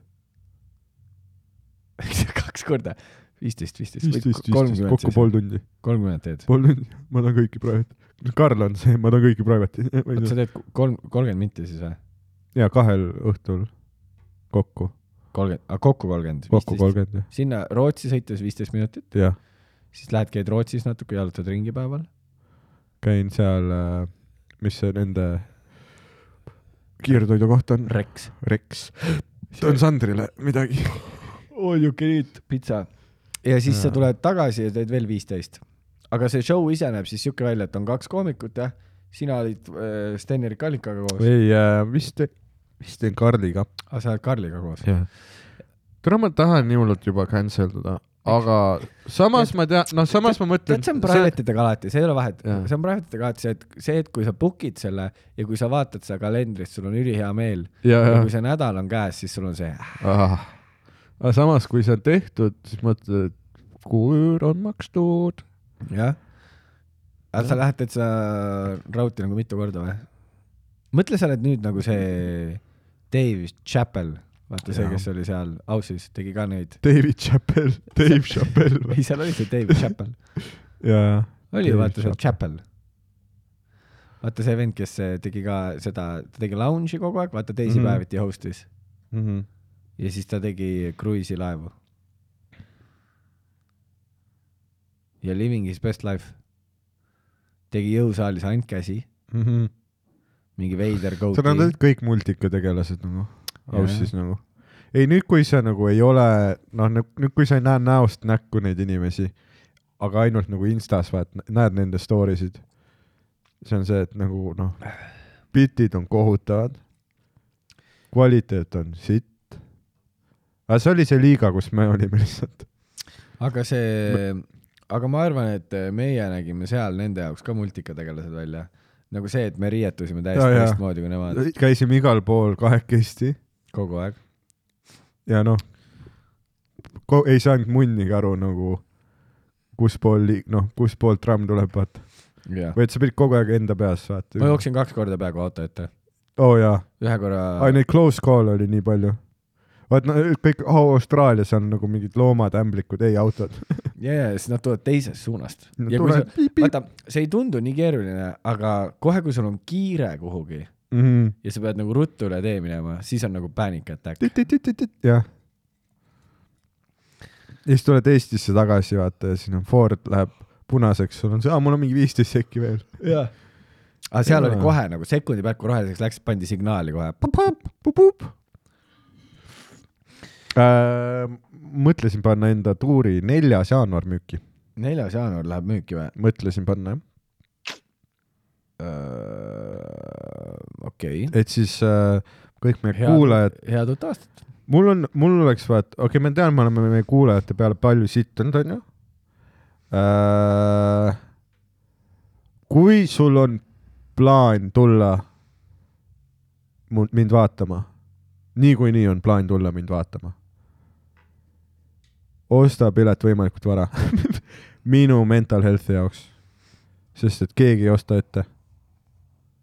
kaks korda . viisteist , viisteist või
viisteist , viisteist ,
kolmkümmend
kokku
siis .
pool tundi .
kolmkümmend teed .
pool tundi , ma tahan kõiki private . Karl on see , ma tahan kõiki
oot ,
private'i .
sa teed kolm , kolmkümmend minti siis või ?
ja kahel õhtul kokku ,
kolmkümmend , kokku kolmkümmend .
kokku . kolmkümmend jah.
sinna Rootsi sõites viisteist minutit ,
jah .
siis lähed , käid Rootsis natuke , jalutad ringi päeval .
käin seal , mis see nende kiirtoidukoht on ?
Rex .
Rex . toon Sandrile midagi .
oh you can eat pitsa . ja siis sa
Jaa.
tuled tagasi ja teed veel viisteist . aga see show ise näeb siis siuke välja , et on kaks koomikut jah , sina olid äh, Sten-Erik Allikaga koos ,
ei , vist , vist teen Karliga .
aga sa oled Karliga koos .
täna ma tahan nii hullult juba cancel ida , aga samas ma tean , noh , samas ma mõtlen .
tead , see on private idega alati , see ei ole vahet ,
Jaa.
see on private idega alati see , et see , et kui sa book'id selle ja kui sa vaatad seda kalendrit , sul on ülihea meel
ja ,
ja
ja
kui see nädal on käes , siis sul on see ,
ah. . aga samas , kui see on tehtud , siis mõtled , et kuür on makstud .
jah . aga sa lähed täitsa raudtee nagu mitu korda või ? mõtle , sa oled nüüd nagu see Dave Chappell , vaata see ,
Jaa.
kes oli seal ausis , tegi ka neid .
David Chappell , Dave Chappell või ?
ei , seal oli see Dave Chappell ,
jaa .
oli ju
Dave
vaata see Chappell . vaata see vend , kes eh, tegi ka seda , ta tegi lounge'i kogu aeg , vaata teisipäeviti mm -hmm. host'is ja siis ta tegi kruiisilaevu . ja Living is best life . tegi jõusaalis ainult käsi , mingi veider
sa näed ,
kooti .
et kõik multikategelased nagu ,
Jaa,
aussis nagu . ei , nüüd , kui sa nagu ei ole , noh , nüüd , kui sa ei näe näost näkku neid inimesi , aga ainult nagu Instas vaat- , näed nende story sid , see on see , et nagu noh , bitid on kohutavad , kvaliteet on sitt . aga see oli see liiga , kus me olime lihtsalt .
aga see , aga ma arvan , et äh, meie nägime seal nende jaoks ka multikategelased välja . nagu see , et me riietusime
Jaa,
täiesti
jaa.
teistmoodi kui nemad
käisime igal pool kahekesti
kogu aeg .
ja noh , ei saanud munnigi aru nagu , kus pool , noh , kus poolt tramm tuleb , vaata .
jah ,
või et sa pidid kogu aeg enda peas vaata .
ma jooksin kaks korda peaaegu auto ette ,
oo oh, jaa ,
ühe korra
ai . neid close call oli nii palju . vaat no kõik oh, , Austraalias on nagu mingid loomad , ämblikud , ei autod .
ja , ja siis nad tulevad teisest suunast
Nad
ja kui sa
tulevad piip, , piip.
vaata , see ei tundu nii keeruline , aga kohe , kui sul on kiire kuhugi
Mhm.
ja sa pead nagu ruttu üle tee minema , siis on nagu panic attack .
jah . ja siis tuled Eestisse tagasi , vaata ja siin on Ford läheb punaseks , sul on see , aa , mul on mingi viisteist sekki veel .
jah . aga seal oli
Jaa.
kohe nagu sekundi pealt , kui roheliseks läks , pandi signaali kohe .
Äh, mõtlesin panna enda tuuri neljas jaanuar müüki ,
neljas jaanuar läheb müüki või ?
mõtlesin panna jah , Äh,
okei .
et siis äh, kõik meie Head. kuulajad ,.
head uut aastat .
mul on , mul oleks vaat- , okei okay, , ma tean , me oleme meie kuulajate peale palju sittunud , onju äh, . kui sul on plaan tulla mu- mind vaatama , niikuinii on plaan tulla mind vaatama , osta pilet võimalikult vara , minu mental health'i jaoks , sest et keegi ei osta ette ,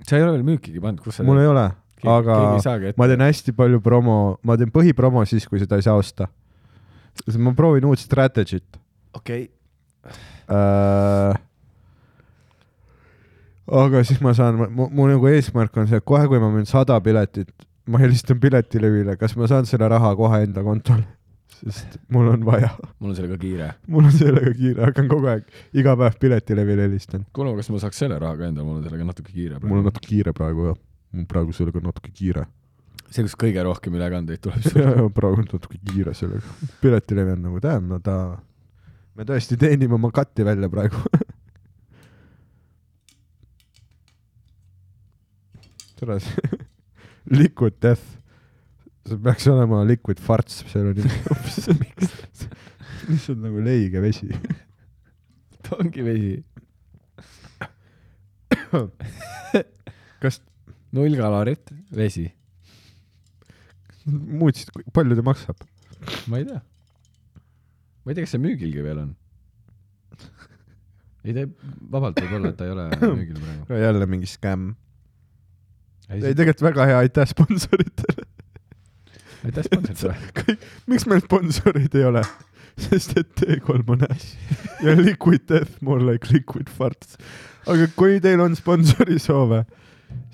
sa ei ole veel müükigi pannud , kus sa
mul ei ole ,
Keegi-
aga
keegi ei saagi ette.
ma teen hästi palju promo , ma teen põhipromo siis , kui seda ei saa osta . ma proovin uut strateegiat
okei .
äh, . aga siis ma saan , mu, mu nagu eesmärk on see , et kohe , kui ma müün sada piletit , ma helistan piletilevile , kas ma saan selle raha kohe enda kontole sest mul on vaja ,
mul on sellega kiire .
mul on sellega kiire , hakkan kogu aeg , iga päev piletilevile helistan .
kuule , kas ma saaks selle rahaga enda , mul on sellega natuke kiire
mul on . natuke kiire praegu jah , mul praegu sellega on natuke kiire .
see , kus kõige rohkem ülekandeid tuleb sulle .
praegu on natuke kiire sellega . piletilevi on nagu tähendab , no ta , me tõesti teenime oma katti välja praegu tere , see Liquid Death , see peaks olema Liquid Farts , seal on nimi hoopis . lihtsalt nagu leige vesi .
ongi vesi .
kas
null kalorit , vesi .
muutsid , palju ta maksab ?
ma ei tea . ma ei tea , kas see müügilgi veel on . ei ta , vabalt võib olla , et ta ei ole müügil praegu .
jälle mingi skäm . ei , tegelikult väga hea , aitäh sponsoritele .
aitäh sponsoritele .
miks meil sponsoreid ei ole ? sest et T3 on äss ja Liquid Death more like liquid farts . aga kui teil on sponsori soove ,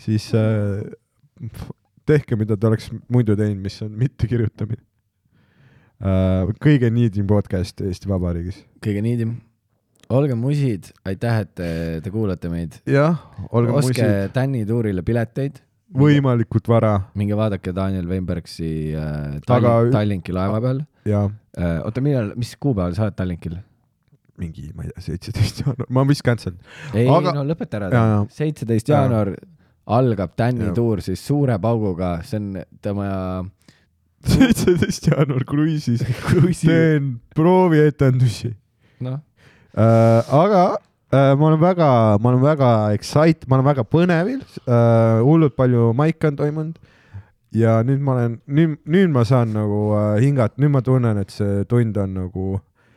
siis äh, f- tehke , mida te oleks muidu teinud , mis on mittekirjutamine äh, . kõige niidim podcast Eesti Vabariigis .
kõige niidim . olge musid , aitäh , et te- te kuulate meid .
jah , olge
ostke
muisid ,
Tänni tuurile pileteid .
võimalikult vara
minge vaadake Daniel Weinbergsi äh,
Aga-
Tall- , Tallinki laeva peal .
ja
oota , millal , mis kuupäeval sa oled Tallinkil ?
mingi , ma ei tea , seitseteist jaanuar , ma vist cancel .
ei
Aga-
Aga... , no lõpeta ära
Jaa, jaa. .
seitseteist
Jaa.
jaanuar algab Tänni
Jaa.
tuur siis suure pauguga , see on tema
seitseteist jaanuar kruiisis
kruiisi ,
teen proovietendusi
noh ,
äh, . aga äh, ma olen väga , ma olen väga excite , ma olen väga põnevil äh, , hullult palju maike on toimunud ja nüüd ma olen , nüüd , nüüd ma saan nagu äh, hingata , nüüd ma tunnen , et see tund on nagu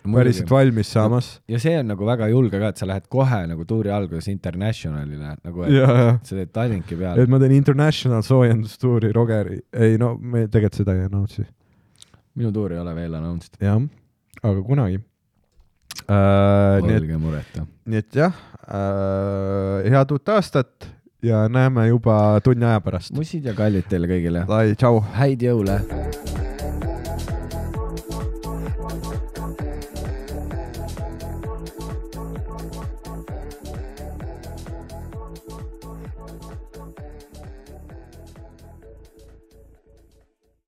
päriselt valmis saamas .
ja see on nagu väga julge ka , et sa lähed kohe nagu tuuri alguses Internationalile nagu , et
ja ,
sa teed Tallinki peal
et . ma teen international soojendustuuri Rogeri , ei no me tegelikult seda ei announce'i ,
minu tuur ei ole veel announced ,
jah , aga kunagi äh, . nii et
olge mureta .
nii et jah äh, , head uut aastat ja näeme juba tunni aja pärast .
mussid ja kallid teile kõigile ,
Lai , tšau .
häid jõule